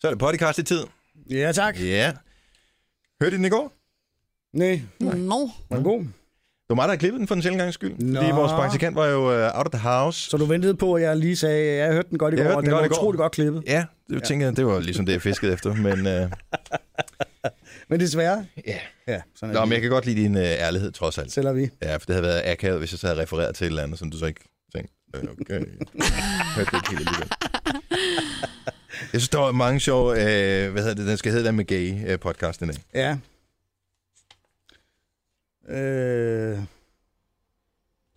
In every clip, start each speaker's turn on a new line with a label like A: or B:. A: Så er det podcast i tid.
B: Ja, tak.
A: Ja. Hørte I den i går?
B: Nej,
C: Nå.
B: var den god.
A: Det var mig, der har klippet den for en sjældent gangs skyld.
B: Nå.
A: Fordi vores praktikant var jo uh, out of the house.
B: Så du ventede på, at jeg lige sagde, at jeg hørte den godt i
A: Jeg
B: går,
A: hørte
B: og
A: den
B: den
A: godt
B: var
A: i går.
B: utrolig godt klippet.
A: Ja, det tænker jeg, det var ligesom det, jeg fiskede efter. Men, uh,
B: Men desværre,
A: ja.
B: ja, sådan er
A: Nå, men
B: det.
A: jeg kan godt lide din uh, ærlighed, trods alt.
B: Sælger vi.
A: Ja, for det havde været akavet, hvis jeg så havde refereret til et eller andet, som du så ikke tænkte, "Øh, okay. Hørte det ikke helt alligevel. Jeg synes, der var mange sjove, øh, hvad hedder det, den skal hedde den med gay øh, podcasten i dag.
B: Ja. Øh...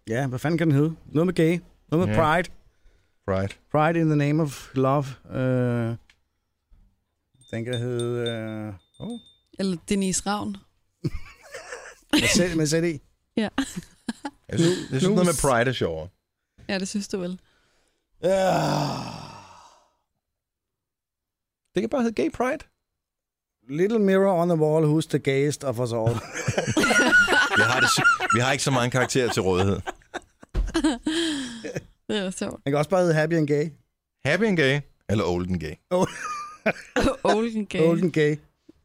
B: Ja, hvad fanden kan den hedde? Noget med gay. Noget med
A: Ja.
B: pride.
A: Right.
B: Pride in the name of love. Øh... Jeg tænker, jeg hed... Øh... Oh.
C: Eller Denise Ravn.
B: Med, sæt, med sæt i.
A: Jeg synes, jeg synes
B: nu-
A: noget med pride er sjovere.
C: Ja, det synes du vel.
B: Ja.
A: Det kan bare hedde gay pride.
B: Little mirror on the wall, who's the gayest of us all.
A: Vi har, det, s- vi har ikke så mange karakterer til rådighed.
C: Det er sjovt.
B: Den kan også bare hedde happy and gay.
A: Happy and gay, eller old and gay.
C: Olden Gay.
B: Old and gay.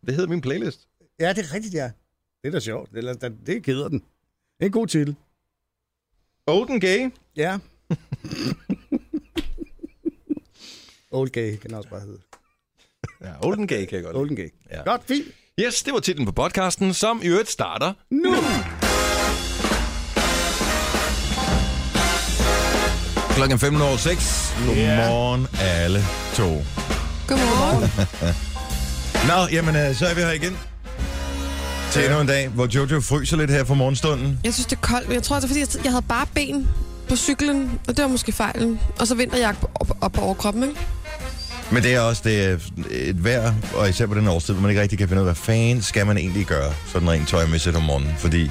A: Det hedder min playlist.
B: Ja, det er rigtigt, ja. Det er da sjovt. Det, er, det gider den. Det er en god titel.
A: Old and gay.
B: Ja. Old Gay kan den også bare hedde.
A: Ja, old and gay kan jeg godt lide.
B: Old Gay.
A: Ja.
B: Godt, fint.
A: Yes, det var titlen på podcasten, som i øvrigt starter
B: Nu!
A: klokken 15.06. Godmorgen alle to.
C: Godmorgen.
A: Nå, jamen, øh, så er vi her igen. Til endnu en dag, hvor Jojo fryser lidt her for morgenstunden.
D: Jeg synes, det er koldt. men Jeg tror, det er, fordi jeg- jeg havde bare ben på cyklen, og det var måske fejlen. Og så vinterjakke på- op, op på overkroppen, ikke?
A: Men det er også det er et vejr, og især på den årstid, hvor man ikke rigtig kan finde ud af, hvad fanden skal man egentlig gøre, sådan rent tøjmæssigt om morgenen. Fordi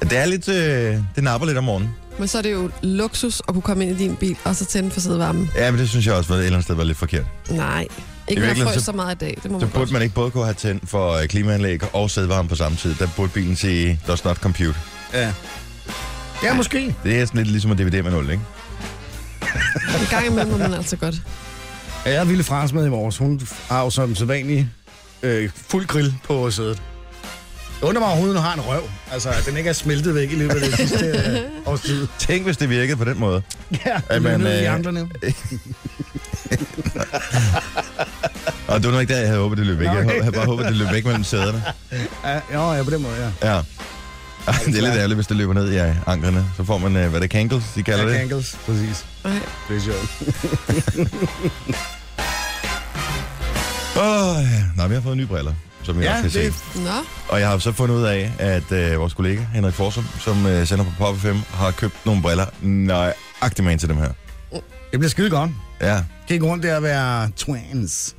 A: at det er lidt, øh, det napper lidt om morgenen.
D: Men så er det jo luksus at kunne komme ind i din bil, og så tænde for sidevarmen.
A: Ja, men det synes jeg også var et eller andet sted var lidt forkert.
D: Nej.
A: I
D: Ikke når jeg
A: virkeligheden,
D: frøs
A: så-
D: så meget i dag. Det må
A: Så
D: man godt.
A: burde man ikke både kunne have tændt for øh, klimaanlæg og sædvarme på samme tid. Der burde bilen sige, does not compute.
B: Ja. Ja, måske.
A: Det er sådan lidt ligesom at dividere med 0, ikke?
D: En gang imellem må man altså godt.
B: Jeg havde Ville Frans med i morges. Hun har jo som sædvanlig øh, fuld grill på sædet. Jeg undrer mig overhovedet, hun har en røv. Altså, at den ikke er smeltet væk i løbet af det sidste øh, års tid.
A: Tænk, hvis det virkede på den måde.
B: Ja,
A: Jamen,
B: men,
A: øh,
B: øh... i anklerne.
A: Og det var nu ikke der, jeg havde håbet, det løb væk. Jeg
B: Nej.
A: havde bare håbet, det løb væk mellem sæderne.
B: Ja, jo, ja, på den måde, ja.
A: Ja. Det er lidt ærgerligt, hvis det løber ned i ja, anklerne. Så får man, øh, hvad er det kankles, de kalder det.
B: Ankles, præcis.
D: Nej.
B: Det er sjovt.
A: Åh, ja. Øh, nej, vi har fået nye briller, som jeg
B: Ja,
A: også kan
B: det er
A: se.
D: Nå,
A: Og jeg har så fundet ud af, at øh, vores kollega, Henrik Forsum, som øh, sender på Pop 5, har købt nogle briller nøjagtigt med ind til dem her.
B: Det bliver skide godt.
A: Ja,
B: Kan ikke rundt der at være twins.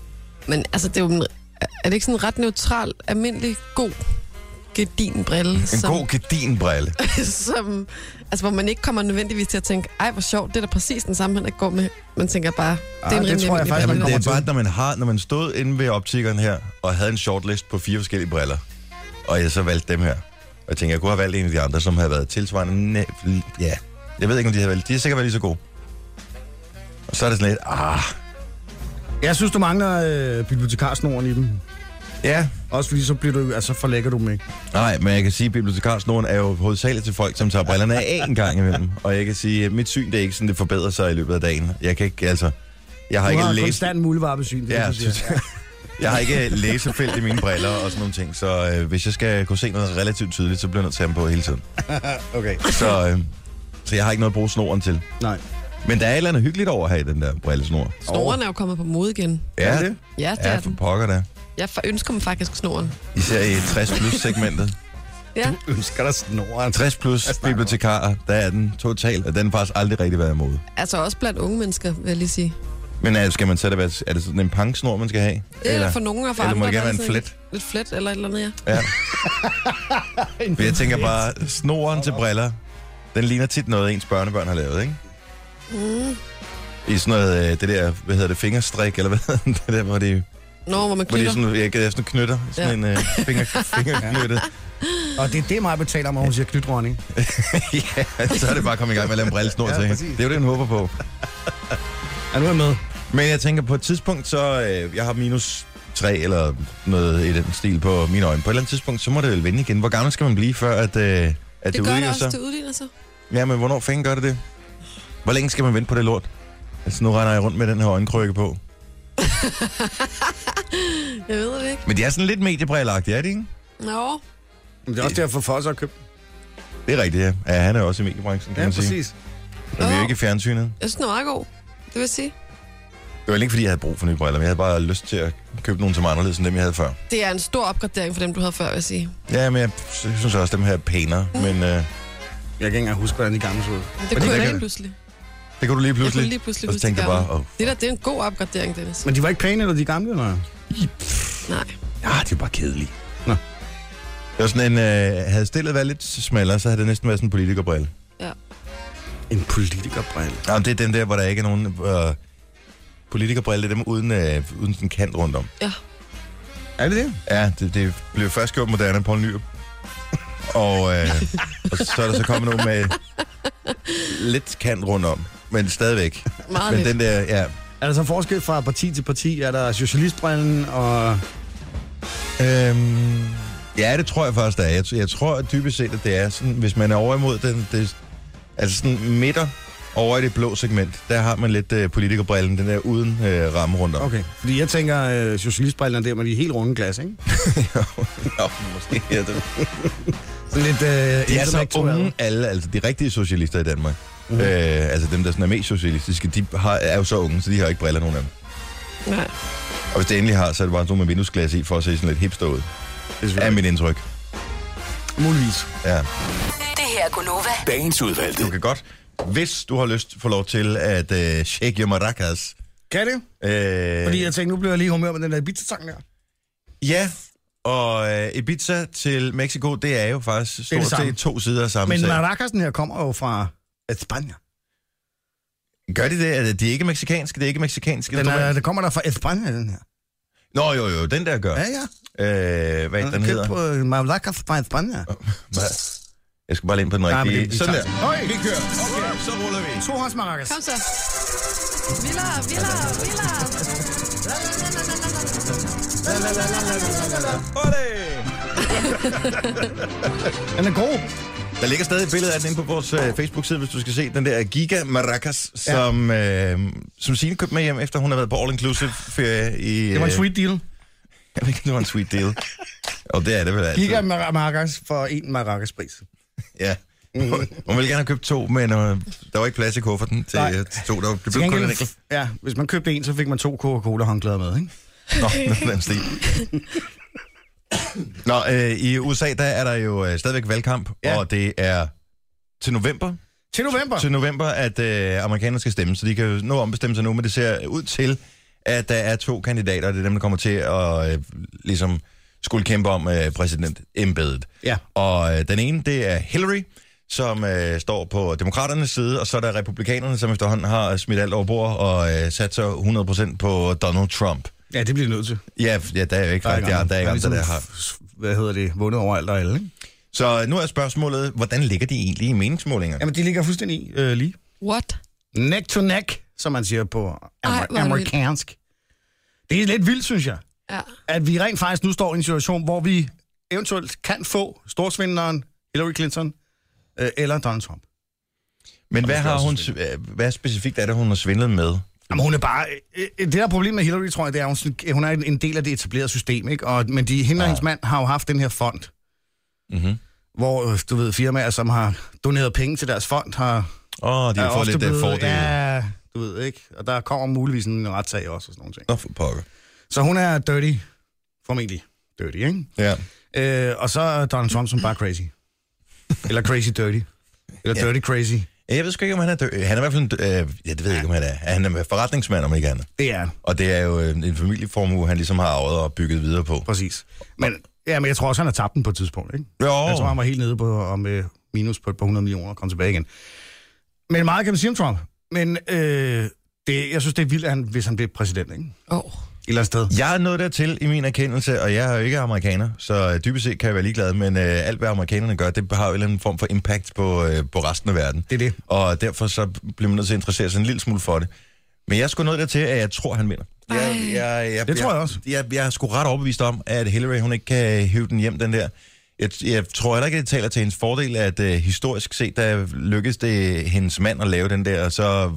D: men altså, det er jo en, er det ikke sådan en ret neutral, almindelig, god gedin brille,
A: en
D: som,
A: god gedinbrille.
D: som, altså, hvor man ikke kommer nødvendigvis til at tænke, ej, hvor sjovt, det er da præcis den samme, han ikke går med. Man tænker bare, Ah, det er en
B: det
D: rimelig
B: tror jeg
D: almindelig
B: faktisk,
A: Ja,
D: brille.
A: men det er
B: kommer
A: bare,
B: til.
A: når man, har, når man stod inde ved optikeren her, og havde en shortlist på fire forskellige briller, og jeg så valgte dem her. Og jeg tænkte, jeg kunne have valgt en af de andre, som havde været tilsvarende. næ- Ja, jeg ved ikke, om de havde valgt. De har sikkert været lige så gode. Og så er det sådan lidt, ah,
B: Jeg synes, du mangler øh, bibliotekarsnoren i dem.
A: ja.
B: Også fordi så, bliver du, altså, forlægger du dem ikke.
A: Nej, men jeg kan sige, at bibliotekarsnoren er jo hovedsageligt til folk, som tager brillerne af en gang imellem. Og jeg kan sige, at mit syn, det er ikke sådan, det forbedrer sig i løbet af dagen. Jeg kan ikke, altså... Jeg har
B: Du
A: ikke
B: har
A: læst...
B: konstant muldvarpesyn. Det,
A: Ja,
B: ja, synes
A: synes
B: jeg.
A: Jeg har ikke læsefelt i mine briller og sådan nogle ting, så øh, hvis jeg skal kunne se noget relativt tydeligt, så bliver jeg nødt til at have dem på hele tiden.
B: Okay.
A: Så, øh, så jeg har ikke noget at bruge snoren til.
B: Nej.
A: Men der er et eller andet hyggeligt over at have den der brillesnor.
D: Snoren er jo kommet på mode igen.
B: Er det?
D: Ja, det
A: Ja,
D: er
A: for
D: den.
A: pokker da.
D: Jeg for- ønsker mig faktisk snoren.
A: Især i 60 plus segmentet.
D: Ja.
B: Ønsker dig snoren.
A: 60
B: Altså,
A: plus bibliotekarer, der er den totalt, og den har faktisk aldrig rigtig været imod.
D: Altså også blandt unge mennesker, vil jeg lige sige.
A: Men er, skal man så det være, er det sådan en pangsnor, man skal have?
D: Eller for nogen og for
A: eller
D: andre.
A: må det
D: der
A: gerne være
D: er
A: en
D: sådan
A: flet?
D: Lidt flet eller et eller andet, ja.
A: Ja. For jeg tænker bare, snoren til briller, den ligner tit noget, ens børnebørn har lavet, ikke? Mm. I sådan noget, øh, det der, hvad hedder det, fingerstrik, eller hvad hedder det, det der, hvor de,
D: Nå, hvor man
A: hvor de
D: knytter.
A: sådan, jeg, jeg sådan knytter, sådan en øh, finger, fingerknyttet.
B: Og det er det, mig betaler om, at hun siger knytronning.
A: ja, så er det bare at komme i gang med at lave en brillesnor
B: Ja,
A: til hende.
B: præcis.
A: Det er jo det, hun håber på.
B: Er du med?
A: Men jeg tænker, på et tidspunkt, så øh, jeg har minus 3 eller noget i den stil på mine øjne. På et eller andet tidspunkt, så må det vel vende igen. Hvor gammel skal man blive, før at, øh, at det,
D: Det gør det
A: udligner
D: også,
A: sig?
D: det udligner sig.
A: Ja, men hvornår fanden gør det det? Hvor længe skal man vente på det lort? Altså, nu render jeg rundt med den her øjenkrykke på.
D: Jeg ved det ikke.
A: Men de er sådan lidt mediebrilleragtige, er de ikke?
D: Nå,
B: Men det er også derfor, for os har købt.
A: Det er rigtigt, ja. ja han er jo også i mediebranchen, kan
B: Ja,
A: man sige.
B: præcis.
A: Og vi er jo
D: Nå.
A: ikke i fjernsynet.
D: jeg synes, den er meget god. Det vil jeg sige.
A: Det var ikke, fordi jeg havde brug for nye briller, men jeg havde bare lyst til at købe nogle, som er anderledes end dem, jeg havde før.
D: Det er en stor opgradering for dem, du havde før, vil jeg sige.
A: Ja, men jeg synes også, at dem her er pænere, men øh,
B: Jeg kan ikke engang huske, hvordan de gamle så ud.
D: Men
A: Og
D: det
A: det
D: kunne jeg
A: kan
D: lige
A: det.
D: pludselig.
A: det kunne du lige
D: Jeg kunne
A: pludselig.
D: lige pludselig
A: og så
D: huske det
A: tænkte jeg bare,
D: gamle.
A: oh,
D: Det der, det er en god opgradering, Dennis.
B: Men de var ikke pæne, eller de gamle, eller?
D: Nej.
A: ah, det er bare kedeligt.
B: Nå.
A: Det var sådan en, øh, havde stillet været lidt smallere, så havde det næsten været sådan en politikerbrille.
B: En politikerbrille.
A: Ja, det er den der, hvor der ikke er nogen øh, politikerbrille, det er dem uden, øh, uden sådan en kant rundt om.
B: Er det det?
A: Ja, det, det blev først gjort moderne på Nyrup. Og, øh, og så er der så kommet nogen med lidt kant rundt om, men stadigvæk.
D: Meget
A: Men
D: lidt.
A: den der, ja.
B: Er der så forskel fra parti til parti? Er der socialistbrillen og...
A: Øhm, ja, det tror jeg faktisk, der er. Jeg, jeg tror at dybest set, at det er sådan, hvis man er over imod den, det, altså sådan midter over i det blå segment, der har man lidt øh, politikerbrillen, den der uden øh, ramme rundt om.
B: Okay, fordi jeg tænker, øh, socialistbrillen er der med de helt runde glas, ikke?
A: Nå, måske. Ja, det,
B: Sådan lidt... Øh,
A: De er så
B: intellektuelle.
A: unge alle, altså de rigtige socialister i Danmark. Mm.
B: Mhm.
A: Øh, altså dem, der sådan er mest socialistiske, de har, er jo så unge, så de har ikke briller nogen af dem.
D: Nej.
A: Og hvis det endelig har, så er det bare sådan nogle med vinduesglas i, for at se sådan lidt hipster ud.
B: Det er
A: Er
B: selvfølgelig-
A: mit indtryk.
B: Muligvis.
A: Ja.
E: Det her er Gunova.
F: Dagens udvalgte.
A: Du kan godt, hvis du har lyst, få lov til at øh, shake your maracas.
B: Kan det?
A: Øh,
B: Fordi jeg tænkte, nu blev jeg lige i humør med den der Ibiza-sang der.
A: Ja, og øh, Ibiza til Mexico, det er jo faktisk
B: er det
A: stort
B: samme.
A: set to sider af samme
B: Men
A: sag.
B: Maracasen her kommer jo fra øh, Spanien.
A: Gør de det? Er det, de er ikke mexikanske? Det er ikke mexikanske?
B: Den er,
A: instrumenter?
B: det kommer der fra Spanien, den her.
A: Nå, jo, jo, den der gør.
B: Ja, ja.
A: Øh, hvad er det, den
B: købt
A: hedder?
B: på øh, Maracas fra Spanien.
A: Hvad? Jeg skal bare lige ind på den
B: Nej, men
A: rigtige.
B: det- vi
A: Sådan
B: tager-
A: der.
B: Øj!
A: Vi kører. Okay, så ruller vi.
B: To hånds Maracas.
D: Kom så. Villa, villa, villa.
B: Den er god.
A: Der ligger stadig et billede af den inde på vores øh, Facebook-side, hvis du skal se den der Giga Maracas, som, øh, som Signe købte med hjem, efter hun har været på All Inclusive ferie i...
B: Det var en
A: øh,
B: sweet deal.
A: Jeg ved ikke, om det var en sweet deal. Og det er det vel altid.
B: Giga Mar- Maracas for en Maracas pris.
A: Ja.
B: Mm.
A: Hun ville gerne have købt to, men øh, der var ikke plads i kufferten til,
B: Nej.
A: øh, til to. Der, det
B: Til
A: blev kun en
B: gengæld,
A: enkelt.
B: ja, hvis man købte en, så fik man to Coca-Cola-håndklæder med, ikke?
A: Nå, den stil. Nå, øh, i USA, der er der jo øh, stadigvæk valgkamp, ja.
B: Ja.
A: og det er til november,
B: Til november.
A: til november, at øh, amerikanerne skal stemme, så de kan jo nå at ombestemme sig nu, men det ser ud til, at der er to kandidater, og det er dem, der kommer til at øh, ligesom skulle kæmpe om øh, præsidentembedet.
B: Ja.
A: Og øh, den ene, det er Hillary, som øh, står på demokraternes side, og så er der republikanerne, som efterhånden har smidt alt over bord og øh, sat sig 100% på Donald Trump.
B: Ja, det bliver de nødt til.
A: Ja, f- ja der er jo ikke rigtig andre, der er ligesom ikke andre, der har.
B: Hvad hedder det? Vundet over alt og alle, ikke?
A: Så nu er spørgsmålet, hvordan ligger de egentlig i meningsmålingerne?
B: Jamen, de ligger fuldstændig i, øh, lige.
C: What?
B: Neck to neck, som man siger
C: Ej,
B: på
C: hvor
B: amer-
C: er det
B: amerikansk. Det er lidt vildt, synes jeg,
C: Ja.
B: at vi rent faktisk nu står i en situation, hvor vi eventuelt kan få storsvinderen Hillary Clinton øh, eller Donald Trump.
A: Men hvad har hun, øh, hvad specifikt er det, hun har svindlet med?
B: Jamen, hun er bare... øh, øh, Det der problem med Hillary, tror jeg, det er, at hun, sådan- hun er en en del af det etablerede system, ikke? Og, men de, hende og hendes mand har jo haft den her fond,
A: Mhm.
B: hvor, øh, du ved, firmaer, som har doneret penge til deres fond, har...
A: Åh, oh, de
B: er
A: har fået
B: ofte
A: lidt øh,
B: blevet-
A: fordele. Ja.
B: Ja, du ved, ikke? Og der kommer muligvis en retssag også og sådan nogle ting.
A: Nå, for pokker.
B: Så hun er dirty, formentlig dirty, ikke?
A: Ja.
B: Øh, og så er Donald Trump som bare crazy. Eller crazy dirty. Eller
A: Ja.
B: dirty crazy.
A: Jeg ved sgu ikke, om han er død. Han er i hvert fald en dø- øh, ja, det ved jeg ikke, om han er. Han er forretningsmand, om ikke andet.
B: Det er han,
A: Og det er jo øh, en familieformue, han ligesom har arvet og bygget videre på.
B: præcis. Men, ja, men jeg tror også, han har tabt den på et tidspunkt, ikke?
A: Jo,
B: Jeg tror, han var helt nede på og med minus på et par hundrede millioner og kom tilbage igen. Men meget kan man sige om Trump. Men øh, det, jeg synes, det er vildt, at han, hvis han bliver præsident, ikke? Et
D: Åh. Oh.
B: eller andet sted.
A: jeg er nået dertil i min erkendelse, og jeg er jo ikke amerikaner, så øh, dybest set kan jeg være ligeglad, men øh, alt, hvad amerikanerne gør, det har jo en eller anden form for impact på, øh, på resten af verden.
B: Det er det.
A: Og derfor så bliver man nødt til at interessere sig en lille smule for det. Men jeg er sgu nået dertil, at jeg tror, han vinder. Jeg,
D: Ej.
A: jeg, jeg,
B: Det tror jeg også.
A: Jeg, jeg er sgu ret overbevist om, at Hillary, hun ikke kan hive den hjem, den der. Jeg, jeg tror heller ikke, det taler til hendes fordel, at øh, historisk set, der lykkedes det hendes mand at lave den der, og så,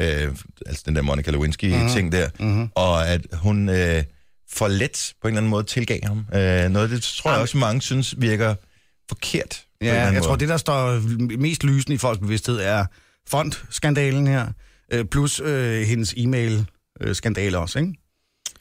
A: øh, altså den der Monica
B: Mhm.
A: Lewinsky-ting der, mm-hmm. og at hun øh, for let på en eller anden måde tilgav ham. Øh, noget af det tror jeg også, mange synes virker forkert. på en eller
B: Ja,
A: anden
B: jeg
A: måde.
B: tror, det, der står mest lysende i folks bevidsthed, er fondskandalen her, øh, plus øh, hendes e-mail-skandale også, ikke?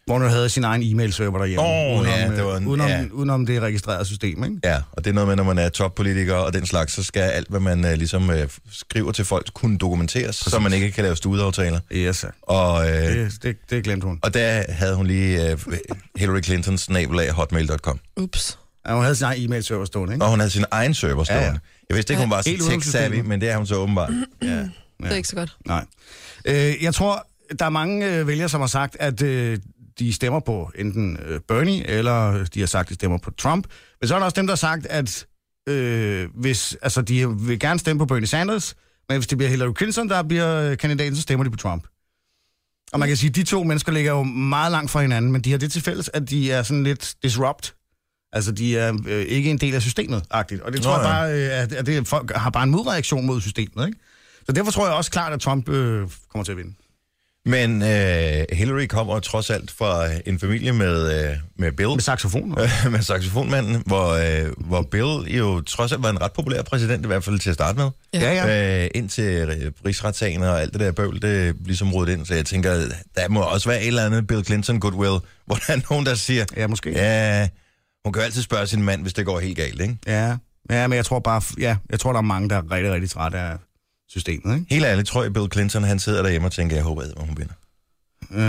B: Hvor hun havde sin egen e-mail-server derhjemme,
A: Åh, ja,
B: øh,
A: det var en-
B: udenom,
A: ja.
B: udenom det registrerede system, ikke?
A: Ja, og det er noget med, når man er toppolitiker og den slags, så skal alt, hvad man øh, ligesom øh, skriver til folk, kunne dokumenteres, Præcis. så man ikke kan lave studeaftaler.
B: Ja, så.
A: Og, øh,
B: Det, det, det glemte hun.
A: og der havde hun lige øh, Hillary Clintons nabelag hotmail.com.
D: Ups.
B: Ja, hun havde sin egen e-mail-server stående, ikke?
A: Og hun havde sin egen server stående.
B: Ja, ja.
A: Jeg vidste ikke, hun var så
B: Helt uden for
A: tech-savvy,
B: systemet.
A: men det er hun så åbenbart.
B: Ja.
D: Det er ikke så godt.
B: Nej. Øh, jeg tror, der er mange øh, vælgere, som har sagt, at øh, de stemmer på enten øh, Bernie, eller de har sagt, at de stemmer på Trump. Men så er der også dem, der har sagt, at øh, hvis, altså, de vil gerne stemme på Bernie Sanders, men hvis det bliver Hillary Clinton, der bliver øh, kandidaten, så stemmer de på Trump. Og man kan sige, at de to mennesker ligger jo meget langt fra hinanden, men de har det til fælles, at de er sådan lidt disrupt. Altså, de er øh, ikke en del af systemet, agtigt. Og det
A: Nå,
B: tror jeg
A: ja.
B: bare, øh, at, at det, folk har bare en modreaktion mod systemet, ikke? Så derfor tror jeg også klart, at Trump øh, kommer til at vinde.
A: Men øh, Hillary kommer trods alt fra en familie med, øh, med Bill.
B: Med saxofon.
A: med saxofonmanden, hvor, øh, hvor Bill jo trods alt var en ret populær præsident, i hvert fald til at starte med.
B: Ja, ja.
A: Øh, indtil øh, rigsretssagen og alt det der bøvl, det ligesom rodet ind. Så jeg tænker, der må også være et eller andet Bill Clinton goodwill, hvor der er nogen, der siger,
B: Ja, måske. Ja.
A: ja, hun kan jo altid spørge sin mand, hvis det går helt galt, ikke?
B: ja. Ja, men jeg tror bare, ja, jeg tror, der er mange, der er rigtig, rigtig trætte af systemet, ikke?
A: Helt ærligt, tror jeg, Bill Clinton, han sidder derhjemme og tænker, jeg håber, at hun vinder.
B: Øh,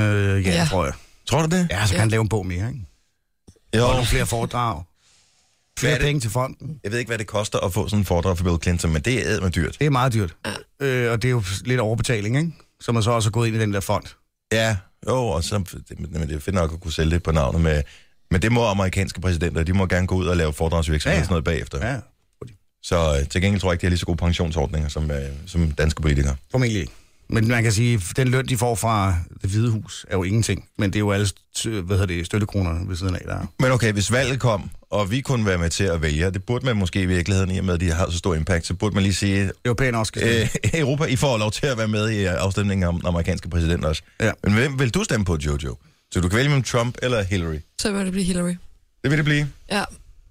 B: ja,
D: Ja.
B: ja, tror jeg.
A: Tror du det?
B: Ja, så kan han lave en bog mere, ikke?
A: Jo,
B: Og nogle flere foredrag.
A: Hvad
B: Flere
A: er det?
B: penge til fonden.
A: jeg ved ikke, hvad det koster at få sådan en foredrag for Bill Clinton, men det er med dyrt.
B: Det er meget dyrt. Øh, og det er jo lidt overbetaling, ikke? Så man så også er gået ind i den der fond.
A: Ja, jo, og så, det, men det er fedt nok at kunne sælge det på navnet med... Men det må amerikanske præsidenter, de må gerne gå ud og lave foredragsvirksomhed
B: Ja,
A: ja,
B: ja.
A: og sådan noget bagefter.
B: Ja,
A: Så øh, til gengæld tror jeg ikke, de har lige så gode pensionsordninger som, øh, som danske politikere.
B: formentlig ikke. Men man kan sige, den løn, de får fra det hvide hus, er jo ingenting. Men det er jo alle stø- hvad hedder det, støttekronerne ved siden af, der er.
A: Men okay, hvis valget kom, og vi kunne være med til at vælge, og det burde man måske i virkeligheden, i og med at de har så stor impact, så burde man lige sige,
B: Europæerne også skal stemme.
A: øh, Europa, I får lov til at være med i øh, afstemningen om den amerikanske præsident også.
B: Ja.
A: Men hvem vil du stemme på, Jojo? Så du kan vælge mellem Trump eller Hillary.
D: Så må det blive Hillary.
A: Det vil det blive.
D: Ja.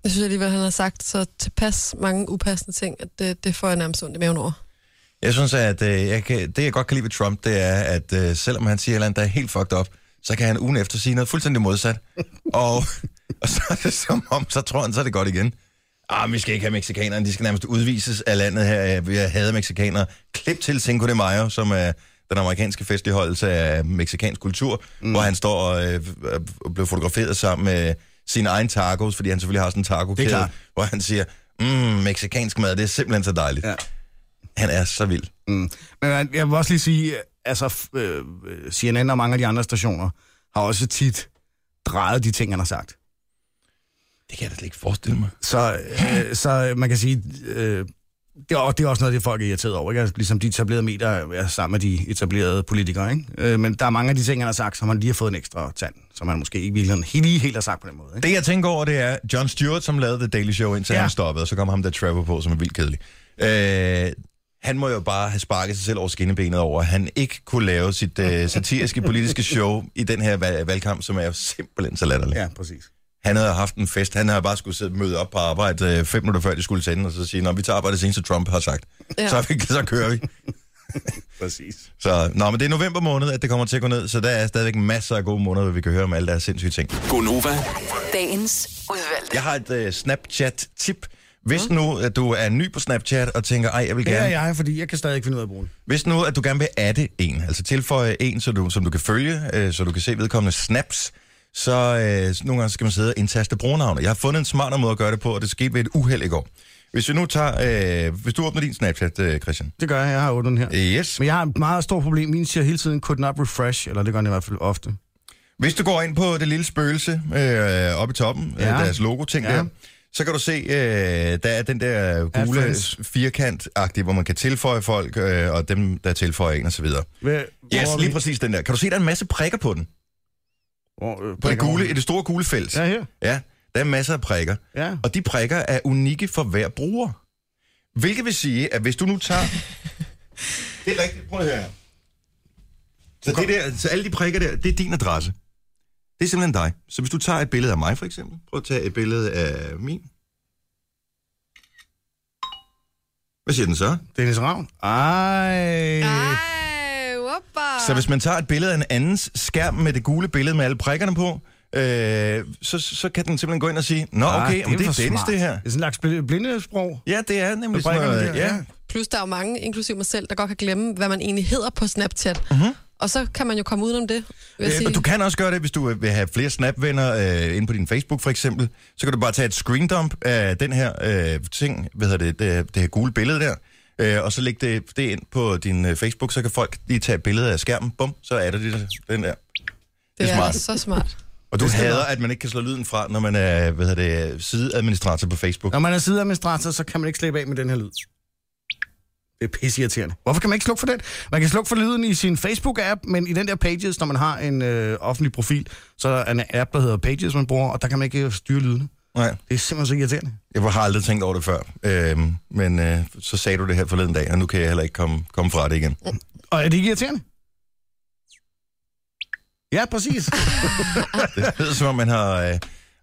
D: Jeg synes alligevel, han har sagt så tilpas mange upassende ting, at det, det får jeg nærmest ondt i maven over.
A: Jeg synes, at øh, jeg kan, det, jeg godt kan lide ved Trump, det er, at øh, selvom han siger et eller andet, der er helt fucked up, så kan han ugen efter sige noget fuldstændig modsat. Og, og så er det som om, så tror han, så er det godt igen. Ah, men vi skal ikke have mexikanerne, de skal nærmest udvises af landet her. øh, Vi hader mexikanere. Klip til Cinco de Mayo, som er den amerikanske festligholdelse af meksikansk kultur, mm. hvor han står og, øh, og bliver fotograferet sammen med sine egne tacos, fordi han selvfølgelig har sådan en taco
B: Det er klart.
A: hvor han siger, mm, meksikansk mad, det er simpelthen så dejligt. Ja.
B: Ja.
A: Han er så vild.
B: Mm. Men jeg- jeg vil også lige sige, altså f- øh, CNN og mange af de andre stationer har også tit drejet de ting, han har sagt.
A: Det kan jeg da slet ikke forestille mig.
B: Så, øh, så man kan sige, øh, det, er, og det er også noget, det folk er irriteret over, ikke? Altså, Ligesom de etablerede medier er sammen med de etablerede politikere, ikke? Øh, men der er mange af de ting, han har sagt, som han lige har fået en ekstra tand, som han måske ikke virkelig helt, lige helt har sagt på den måde, ikke?
A: Det jeg tænker over, det er John Stewart, som lavede The Daily Show, indtil ja.
B: Ja.
A: han stoppede, og så kom ham der Trevor på, som er vildt kedelig. Øh, han må jo bare have sparket sig selv over skinnebenet over, at han ikke kunne lave sit øh, satiriske politiske show i den her val- valgkamp, som er jo simpelthen så latterlig. Ja.
B: Ja, præcis.
A: Han havde haft en fest, han havde bare skulle sidde og møde op på arbejde øh, fem minutter før de skulle sende, og så sige, når vi tager bare det seneste, Trump har sagt. Ja.
D: Ja.
A: Så, er vi, så kører vi.
B: Præcis.
A: Så, nå, men det er november måned, at det kommer til at gå ned, så der er stadigvæk masser af gode måneder, hvor vi kan høre om alle deres sindssyge ting.
F: Gonova,
E: Dagens udvalgte.
A: Jeg har et øh, Snapchat-tip. Hvis nu, at du er ny på Snapchat og tænker, ej, jeg vil
B: Mm. Det er
A: gerne... Ja, ja.
B: jeg, fordi jeg kan stadig ikke finde ud af at bruge den.
A: Hvis nu, at du gerne vil adde en, altså tilføje en, så du, som du kan følge, øh, så du kan se vedkommende snaps, så øh, så nogle gange skal man sidde og indtaste brugernavne. Jeg har fundet en smartere måde at gøre det på, og det skete ved et uheld i går. Hvis vi nu tager... Øh, hvis du åbner din Snapchat, øh, Christian.
B: Det gør jeg, jeg har åbnet den her.
A: Yes.
B: Men jeg har et meget stort problem. Min siger hele tiden, could not refresh, eller det gør den i hvert fald ofte.
A: Hvis du går ind på det lille spøgelse øh, oppe i toppen, ja.
B: Ja.
A: deres logo-ting ja.
B: Ja.
A: der, så kan du se, øh, der er den der gule
B: friends.
A: firkant-agtige, hvor man kan tilføje folk, øh, og dem, der tilføjer en osv.
B: Hvad,
A: Yes, lige præcis den der. Kan du se, der er en masse prikker på den?
B: Hvor, øh,
A: På det,
B: prikker
A: gule, i
B: over-
A: det store gule felt.
B: Ja, her.
A: ja, der er masser af prikker.
B: Ja.
A: Og de prikker er unikke for hver bruger. Hvilket vil sige, at hvis du nu tager... det er rigtigt. Prøv at høre her. Så, det der, så alle de prikker der, det er din adresse. Det er simpelthen dig. Så hvis du tager et billede af mig, for eksempel. Prøv at tage et billede af min. Hvad siger den så?
B: Dennis Ravn. Ej.
D: Ah. Ej, whoppa.
A: Så hvis man tager et billede af en andens skærm med det gule billede med alle prikkerne på, øh, så, så kan den simpelthen gå ind og sige, Nå okay,
B: Ah,
A: ah, det, men det er
B: for
A: Dennis
B: smart.
A: det her.
B: Det er sådan en slags bl- blindesprog.
A: Ja, det er nemlig
B: Med
A: sådan
B: prikkerne
A: noget.
B: der,
A: ja.
B: ja.
D: Plus, der er jo mange, inklusive mig selv, der godt kan glemme, hvad man egentlig hedder på Snapchat. Mm-hmm. Og så kan man jo komme udenom det, vil
A: Mhm.
D: jeg
A: Øh,
D: sige.
A: og du kan også gøre det, hvis du øh, vil have flere snapvenner øh, inde på din Facebook for eksempel. Så kan du bare tage et screendump af den her øh, ting, hvad hedder det, det, det her gule billede der, øh, og så læg det, det ind på din øh, Facebook, så kan folk lige tage et billede af skærmen. Bum, så er der lige den der.
D: det
A: er
D: er
A: smart.
D: så smart.
A: Og du hader, at man ikke kan slå lyden fra, når man er hvad hedder det, sideadministrator på Facebook.
B: Når man er sideadministrator, så kan man ikke slippe af med den her lyd. Det er pisseirriterende. Hvorfor kan man ikke slukke for den? Man kan slukke for lyden i sin Facebook-app, men i den der Pages, når man har en øh, offentlig profil, så er der en app, der hedder Pages, man bruger, og der kan man ikke øh, styre lyden.
A: Nej.
B: Det er simpelthen så irriterende.
A: Jeg har aldrig tænkt over det før, øhm, men øh, så sagde du det her forleden dag, og nu kan jeg heller ikke komme, komme fra det igen.
B: Og er det ikke irriterende? Ja, præcis.
A: Det lyder som om, man har øh,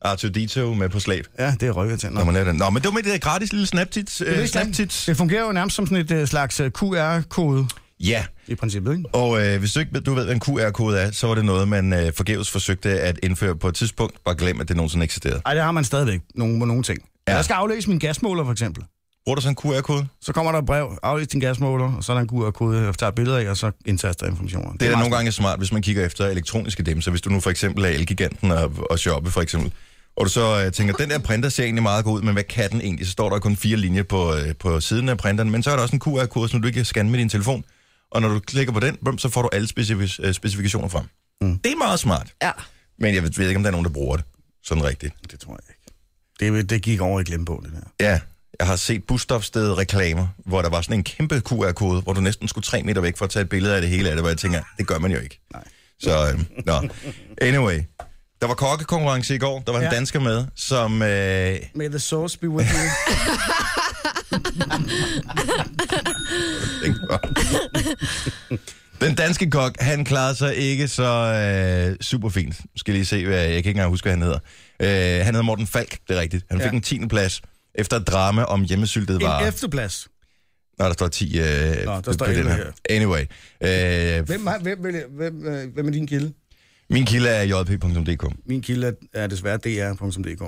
A: R2-D2 med på slæb.
B: Ja, det er røvirriterende.
A: Nå, man er den. Nå, men det var med det der gratis lille snaptits.
B: Det er
A: Øh,
B: ikke
A: snaptits.
B: Det fungerer jo nærmest som sådan et øh, slags øh, QR-kode
A: Ja,
B: i princippet, ikke?
A: og øh, hvis du ikke ved- du ved, hvad en QR-kode er, så var det noget, man øh, forgæves forsøgte at indføre på et tidspunkt. Bare glem, at det nogensinde eksisterede.
B: Ej, det har man stadigvæk nogle, nogle ting.
A: Ja.
B: Ja. Jeg skal aflæse min gasmåler, for eksempel.
A: Bruger du sådan en QR-kode?
B: Så kommer der et brev, aflæs din gasmåler, og så er der en QR-kode, jeg tager billeder af, og så indtaster jeg informationer.
A: Det er, da
B: meget
A: nogle gange smart, hvis man kigger efter elektroniske dem. Så hvis du nu for eksempel er Elgiganten og, og shoppe for eksempel, og du så øh, tænker, den der printer ser egentlig meget god ud, men hvad kan den egentlig? Så står der kun fire linjer på, øh, på siden af printeren, men så er der også en QR-kode, som du ikke kan scanne med din telefon. Og når du klikker på den, bum, så får du alle specif- øh, specifikationer frem. Mm. Det er meget smart.
D: Ja.
A: Men jeg ved, ved ikke, om der er nogen, der bruger det sådan rigtigt.
B: smart. Det tror jeg ikke. Det, det gik over i glemmebogen, det der.
A: Ja, jeg har set busstofstedet reklamer, hvor der var sådan en kæmpe QR-kode, hvor du næsten skulle tre meter væk for at tage et billede af det hele af det, hvor jeg tænker, det gør man jo ikke. Nej. Så, øh, nå. Anyway. Der var kokkekonkurrence i går, der var en ja.
B: Ja.
A: dansker med, som... Øh,
B: May the source be with you.
A: den danske kok, han klarede sig ikke så øh, super fint. Skal lige se, hvad, jeg kan ikke engang huske, hvad han hedder. Øh, han hedder Morten Falk, det er rigtigt. Han fik
B: Ja.
A: en 10. plads efter et drama om hjemmesyltede varer.
B: en efterplads.
A: Nå, der står 10 øh, Nå,
B: der står
A: på den
B: 11
A: her.
B: her.
A: Anyway. Øh,
B: Hvem, har- hvem, hvem, hvem, øh, hvem er din kilde?
A: min kilde er jp.dk.
B: Min kilde er, er desværre dr.dk.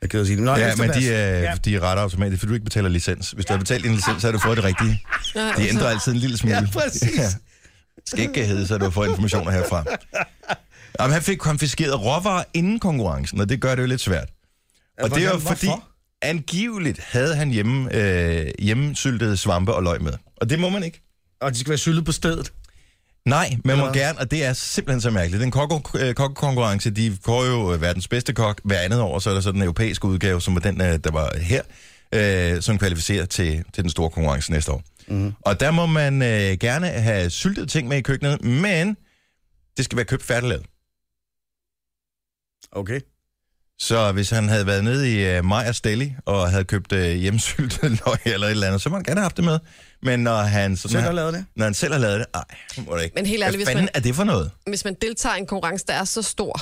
B: Jeg er ked af at sige det. Nå,
A: Ja, men
B: efterplads.
A: de er,
B: Ja.
A: de er ret automatisk, for du ikke betaler licens. Hvis du har betalt din licens, så har du fået det rigtige.
D: Nej,
A: De ændrer altid en lille smule.
B: Ja, præcis.
A: Skal ikke hedde, så du får informationer herfra. Jamen, han fik konfiskeret råvarer inden konkurrencen, og det gør det jo lidt svært. Og det er jo
B: Hvordan?
A: fordi,
B: Hvorfor?
A: angiveligt havde han hjemme, øh, hjemmesyltede svampe og løg med. Og det må man ikke.
B: Og de skal være syltet på stedet.
A: Nej, man må
B: hvad?
A: gerne, og det er simpelthen så mærkeligt. Den kokke- øh, kokkekonkurrence, de kårer jo øh, verdens bedste kok hver andet år, så er der så den europæiske udgave, som var den, øh, der var her, øh, som kvalificerer til, til den store konkurrence næste år. Mm. Og der må man øh, gerne have syltede ting med i køkkenet, men det skal være købt færdiglavet.
B: Okay.
A: Så hvis han havde været nede i øh, Majers Deli og havde købt øh, hjemmesyltet løg eller et eller andet, så må han gerne have haft det med. Men når han, sådan,
B: Selv har
A: har,
B: lavet det.
A: når han selv har lavet det, ej, det må det ikke.
D: Men helt
A: Hvad
D: ærligt, hvis
A: fanden
D: man-
A: er det for noget?
D: Hvis man deltager i en konkurrence, der er så stor,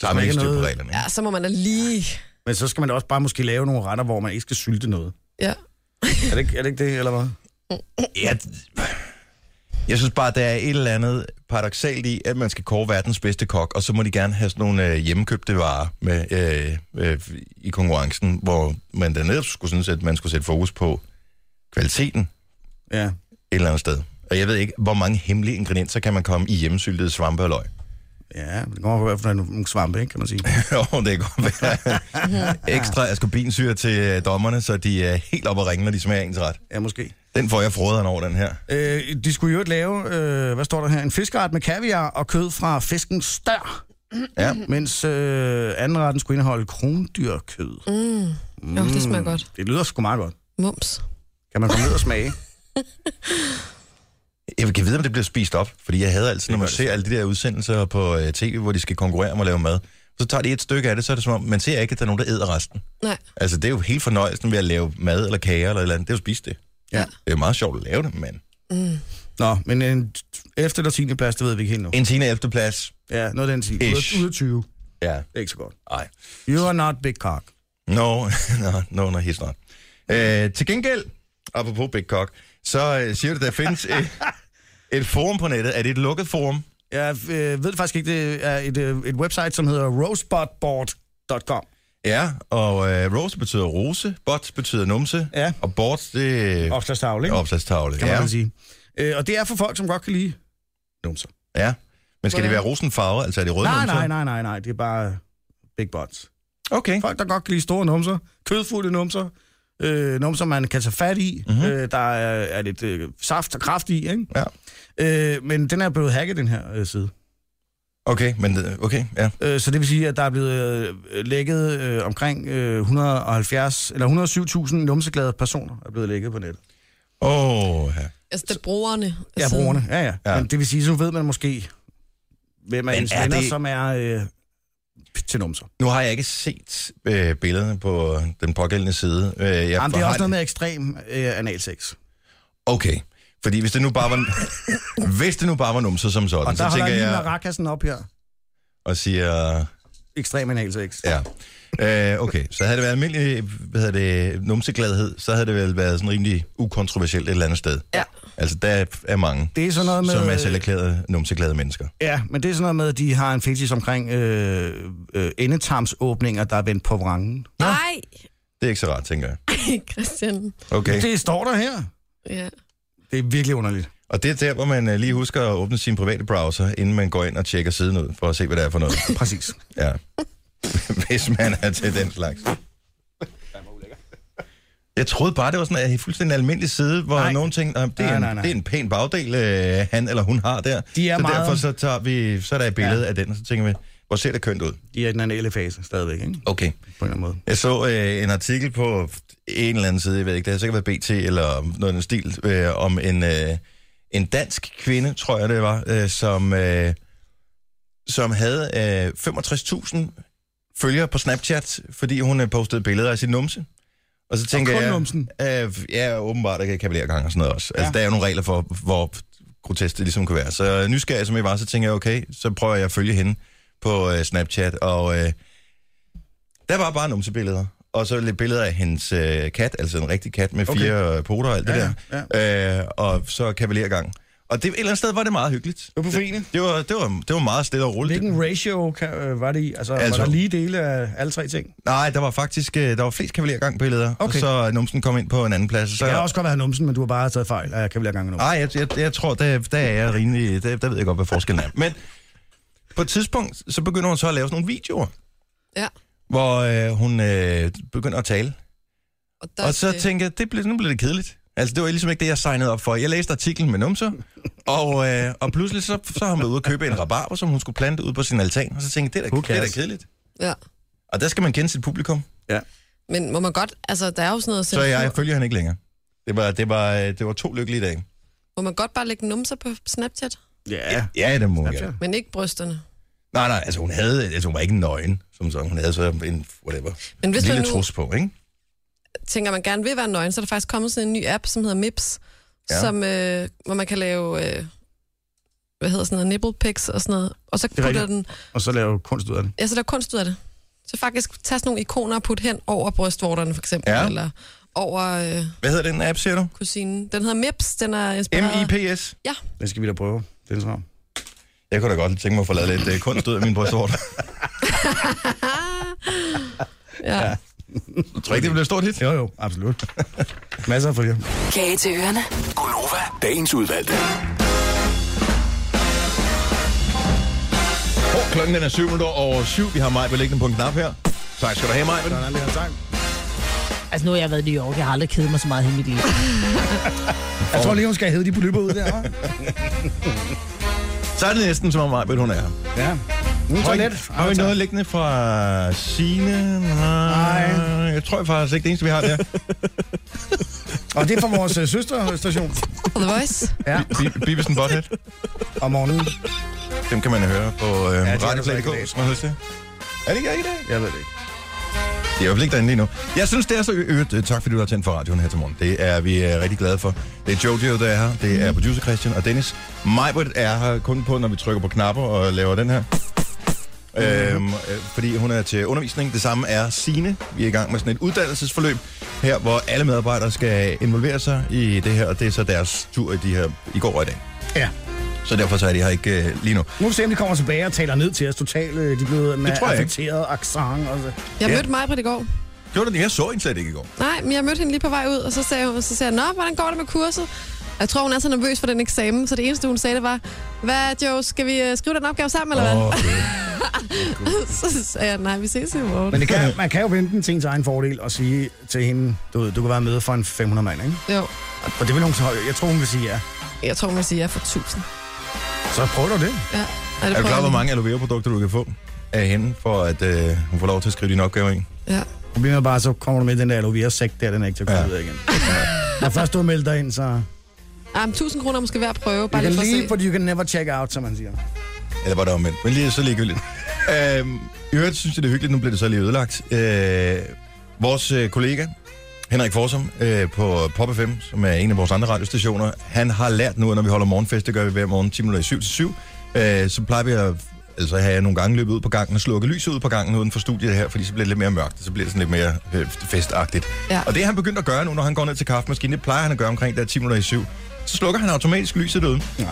A: Så har man
B: ikke
A: ikke styr på
B: noget-
A: reglerne. ikke?
D: ja, så må man da lige...
B: Men så skal man da også bare måske lave nogle retter, hvor man ikke skal sylte noget.
D: Ja.
B: Er det ikke er det, ikke det eller hvad?
A: Jeg, jeg synes bare, der er et eller andet paradoxalt i, at man skal kåre verdens bedste kok, og så må de gerne have sådan nogle øh, hjemmekøbte varer med, øh, øh, i konkurrencen, hvor man dernede skulle synes, at man skulle sætte fokus på kvaliteten et
B: Ja.
A: eller andet sted. Og jeg ved ikke, hvor mange hemmelige ingredienser kan man komme i hjemmesyltede svampe og løg.
B: Ja, men det kommer på hvert fald nogle svampe, ikke, kan man sige.
A: Jo, det kan godt være. Ekstra ascorbinsyre til øh, dommerne, så de er helt oppe at ringe, når de smager ens ret.
B: Ja, måske.
A: Den får jeg froderen over, den her.
B: Øh, de skulle jo ikke lave, øh, hvad står der her, en fiskeret med kaviar og kød fra fiskens stør,
A: Ja.
B: mens øh, anden retten skulle indeholde Hmm. krondyrkød. Mm.
D: Jo, det smager godt.
B: Det lyder sgu meget godt.
D: Mums.
B: Kan man komme ned og smage?
A: Jeg kan vide, om det bliver spist op, fordi jeg hader altid, når
B: Det
A: man
B: gør det
A: ser alle de der udsendelser på øh, tv, hvor de skal konkurrere om at lave mad. Så tager de et stykke af det, så er det som om, man ser ikke, at der er nogen, der æder resten.
D: Nej.
A: Altså, det er jo helt fornøjelsen ved at lave mad eller kager eller et eller andet. Det er jo at spise det.
B: Ja.
A: Det er meget sjovt at lave det, men...
B: Nå, men en t- efter eller 10. plads, det ved vi ikke helt nu.
A: En 10. 11. plads.
B: Ja, noget af den 10. Ud
A: Ish.
B: af- Ud af 20.
A: Ja.
B: Det er ikke så godt.
A: Ej.
B: You are not big cock.
A: No, no, no, no, he's not. Øh, til gengæld, apropos Big Cock, så øh, siger du, der findes et, et forum på nettet. Er det et lukket forum?
B: Jeg øh, ved det faktisk ikke, det er et, øh, et website, som hedder rosebudboard.com.
A: Ja, og øh, rose betyder rose, bot betyder numse,
B: Ja.
A: og board, det er
B: Opslagstavle, ikke?
A: opslagstavle.
B: Kan man
A: Ja.
B: vel sige. Øh, og det er for folk, som godt kan lide numser.
A: ja. Men skal det være rosenfarvet, altså er det røde
B: Nej,
A: numser?
B: nej, nej, nej, nej. Det er bare big butts.
A: Okay.
B: Folk, der godt kan lide store numser, kødfulde numser, øh, numser, man kan tage fat i, mm-hmm. øh, der er, er lidt øh, saft og kraft i, ikke?
A: Ja.
B: Øh, men den er blevet hacket, den her øh, side.
A: Okay, men øh, okay, ja.
B: Øh, så det vil sige, at der er blevet øh, lækket øh, omkring øh, 170 eller 107.000 numseglade personer er blevet lækket på nettet.
A: Åh, oh, ja.
D: Altså, det er brugerne.
B: Ja,
D: Altså,
B: brugerne. Ja, ja.
A: Ja.
B: ja. Men det vil sige, så ved man måske, hvem er
A: Men
B: ens
A: er
B: venner,
A: det-
B: det... som er øh, til numser.
A: Nu har jeg ikke set øh, billederne på den pågældende side. Øh, jeg
B: Jamen, det er
A: har-
B: også noget med ekstrem øh, analsex.
A: Okay, fordi hvis det nu bare var, hvis det nu bare var numser som sådan,
B: Og der
A: så
B: holder
A: tænker
B: jeg lige med
A: jeg
B: rakassen op her.
A: og siger,
B: Ekstrem analsex.
A: ja, øh, okay, så havde det været almindelig, hvad hedder det, numsegladhed, så havde det vel været sådan rimelig ukontroversielt et eller andet sted.
D: Ja.
A: Altså, der er mange,
B: Det er sådan noget med...
A: som er selv erklærede numseglade mennesker.
B: Ja, men det er sådan noget med, at de har en fetish omkring øh, øh, endetarmsåbninger, der er vendt på vrangen.
D: Nej,
A: Det er ikke så rart, tænker jeg.
D: Christian.
A: Okay,
B: Det står der her.
D: Ja.
B: Det er virkelig underligt.
A: og det er der, hvor man øh, lige husker at åbne sin private browser, inden man går ind og tjekker siden ud, for at se, hvad det er for noget.
B: Præcis.
A: Ja. Hvis man er til den slags. Jeg troede bare, det var sådan en fuldstændig almindelig side, hvor nej.
B: Nej.
A: nogen tænkte, at det, er
B: Nej,
A: en,
B: nej, nej.
A: det er en pæn bagdel, øh, han eller hun har der.
B: De er
A: så
B: meget-
A: derfor så, tager vi, så er der et billede ja. af den, og så tænker vi, hvor ser det kønt ud.
B: De er i den anale fase stadigvæk, ikke?
A: Okay.
B: På en eller anden måde.
A: Jeg så øh, en artikel på en eller anden side, jeg ved ikke, det har sikkert været BT eller noget i den stil, øh, om en, øh, en dansk kvinde, tror jeg det var, øh, som, øh, som havde øh, 65.000 følgere på Snapchat, fordi hun øh, postede billeder af sin numse. Og så tænker
B: kun
A: jeg...
B: numsen?
A: Øh, ja, åbenbart, der kan kavaliergang og sådan noget også. Altså, ja. der er jo nogle regler for, hvor grotesk det ligesom kan være. Så nysgerrig som jeg var, så tænker jeg, okay, så prøver jeg at følge hende på øh, Snapchat, og... Øh, der var bare numsebilleder. Og så lidt billeder af hendes øh, kat, altså en rigtig kat med
B: Okay.
A: fire øh, poter og alt
B: Ja,
A: det der. Ja. Øh, og så kavalergang. Og det, et eller andet sted var det meget hyggeligt.
B: Det var befriende.
A: Det, det, var, det, var, det var meget stille og roligt.
B: Hvilken ratio kan, øh, var det i? Altså,
A: Altså-
B: altså, var der lige dele af alle tre ting?
A: Nej, der var faktisk øh, der var flest kavalergangbilleder,
B: Okay.
A: og så numsen kom ind på en anden plads. Så,
B: Det kan også godt være numsen, men du har bare taget fejl af kavalergangen
A: Ej,
B: numsen.
A: jeg, jeg, jeg tror, der, der er jeg rimelig... Der, der ved jeg godt, hvad forskellen er. Men på et tidspunkt, så begynder hun så at lave sådan nogle videoer,
D: Ja.
A: hvor øh, hun øh, begynder at tale.
D: Og, der
A: Og så
D: det.
A: tænkte jeg, det blev, nu blev det kedeligt. Altså, det var ligesom ikke det, jeg signede op for. Jeg læste artiklen med numser, og, øh, og pludselig så, så har hun været ude og købe en rabarber, som hun skulle plante ud på sin altan. Og så tænkte jeg, det er
B: Who
A: da, det er da
B: cares?
A: kedeligt.
D: Ja.
A: Og der skal man kende sit publikum,
D: Men må man godt... Altså, der er jo sådan noget...
A: så
D: Censur.
A: jeg følger hende ikke længere. Det var, det var, øh, det var to lykkelige dage.
D: Må man godt bare lægge numser på Snapchat,
B: Ja.
A: Ja, det må hun
B: Snapchat.
A: gerne.
D: men ikke brysterne?
A: Nej, nej, altså hun havde, altså hun var ikke nøgen, som sådan. Hun havde så en, whatever,
D: Men hvis
A: lille
D: man nu
A: trus på, ikke?
D: tænker, at man gerne vil være nøgen, så er der faktisk kommet sådan en ny app, som hedder Mips,
A: Ja.
D: ja. som, øh, hvor man kan lave... Øh, hvad hedder sådan noget, nipple pics og sådan noget. Og så
B: er
D: putter
B: rigtigt.
D: den...
B: Og så lave kunst ud af det.
D: Ja, så der er kunst ud af det. Så faktisk tage sådan nogle ikoner og putte hen over brystvorterne, for eksempel,
A: Ja.
D: ja. eller over øh,
A: Hvad hedder den app, siger du?
D: kusinen. Den hedder Mips, den er inspireret.
A: MIPS.
B: Det skal vi da prøve. Det er så.
A: Jeg kunne da godt tænke mig at få lavet lidt øh, kunst ud af min brystvorter.
D: Ja. ja.
A: Tror ikke, det bliver et stort hit?
B: Jo, jo, absolut. Masser af følgere.
E: Kage til ørerne.
F: Gunova, dagens udvalgte.
A: Oh, klokken den er 7 minutter over 7. Vi har mig beliggende på en knap her. Tak skal du have, mig.
B: Sådan der sang.
G: Altså, nu har jeg været i New York. Jeg har aldrig kedet mig så meget i hele mit liv.
B: Jeg tror lige, hun skal hæve de polypper ud der, hva'?
A: Så er det næsten, som om mig, hun er her.
B: Ja. Nu
A: Har
B: er
A: I,
B: let.
A: har I noget liggende fra Sine? Nej.
B: Nej.
A: Jeg tror faktisk ikke, det eneste, vi har der.
B: Og det er fra vores øh, søsterstation
D: The Voice.
B: ja,
A: Bi- Bibelsen Bothead.
B: om morgenen.
A: Dem kan man høre på øh,
B: de er
A: ja,
B: der så ikke
A: radioplay.dk,
B: i dag.
A: hvis man har lyst til. Er det ikke i dag?
B: Jeg ved det ikke.
A: Det er i hvert fald ikke derinde lige nu. Jeg synes, det er så ø- øvrigt. øh, Tak fordi du har tændt for radioen her til morgen. Det er vi er rigtig glade for. Det er Jojo, der er her. Det
B: Mhm.
A: er producer Christian og Dennis. Majbert er her kun på, når vi trykker på knapper og laver den her.
B: Mhm.
A: Øhm, øh, fordi hun er til undervisning. Det samme er Sine. Vi er i gang med sådan et uddannelsesforløb her, hvor alle medarbejdere skal involvere sig i det her, og det er så deres tur i, de her, i går og i dag.
B: Ja.
A: Så derfor så er de her ikke øh, lige nu.
B: Nu får vi se, om de kommer tilbage og taler ned til os totalt. øh, De er blevet med
A: tror jeg ikke.
B: affekteret accent. Og så.
D: Jeg
A: Ja.
D: mødte mig på det i går.
A: Gjorde du det? Jeg så hende slet ikke i går.
D: Nej, men jeg mødte hende lige på vej ud, og så sagde hun, så sagde jeg, Nå, hvordan går det med kurset? Jeg tror, hun er så nervøs for den eksamen, så det eneste, hun sagde, det var, hvad, Joe, skal vi øh, skrive den opgave sammen, eller hvad?
A: Okay.
D: så sagde jeg, nej, vi ses i morgen.
B: Men det kan, man kan jo vente den til ens egen fordel og sige til hende, du, ved, du kan være med for en 500 mand, ikke?
D: Jo,
B: Og det vil hun så, jeg tror, hun vil sige ja.
D: jeg tror, hun vil sige, at jeg får 1000.
B: Så prøv du det.
D: Ja. det
A: Er du
D: prøver
A: klar,
D: jeg
A: hvor
D: lige.
A: mange aloe vera produkter du kan få af hende, for at øh, hun får lov til at skrive din opgave ind?
D: Ja.
B: Problemet er bare, så kommer du med den der aloe vera sæk der, den er ikke til at komme
A: Ja.
B: ja. ud af igen. Når først du har meldt dig ind, så...
D: Ah, men 1000 kroner måske hver prøve,
B: You
D: bare
B: can
D: lige for at se.
B: leave, but you can never check out, som man siger.
A: Eller var det omvendt? Men lige så ligegyldigt. øhm, I øvrigt synes jeg, det er hyggeligt. Nu bliver det så lige ødelagt. Øh, vores øh, kollega, Henrik Forsum, øh, på Pop FM, som er en af vores andre radiostationer, han har lært nu, at når vi holder morgenfest, det gør vi hver morgen 10 minutter i 7 til 7, øh, så plejer vi at altså have nogle gange løbet ud på gangen og slukke lyset ud på gangen uden for studiet her, fordi så bliver det lidt mere mørkt, og så bliver det sådan lidt mere øh, festagtigt.
D: Ja.
A: Og det er han begyndt at gøre nu, når han går ned til kaffemaskinen, det plejer han at gøre omkring der 10 minutter i 7. Så slukker han automatisk lyset ud.
B: Ja,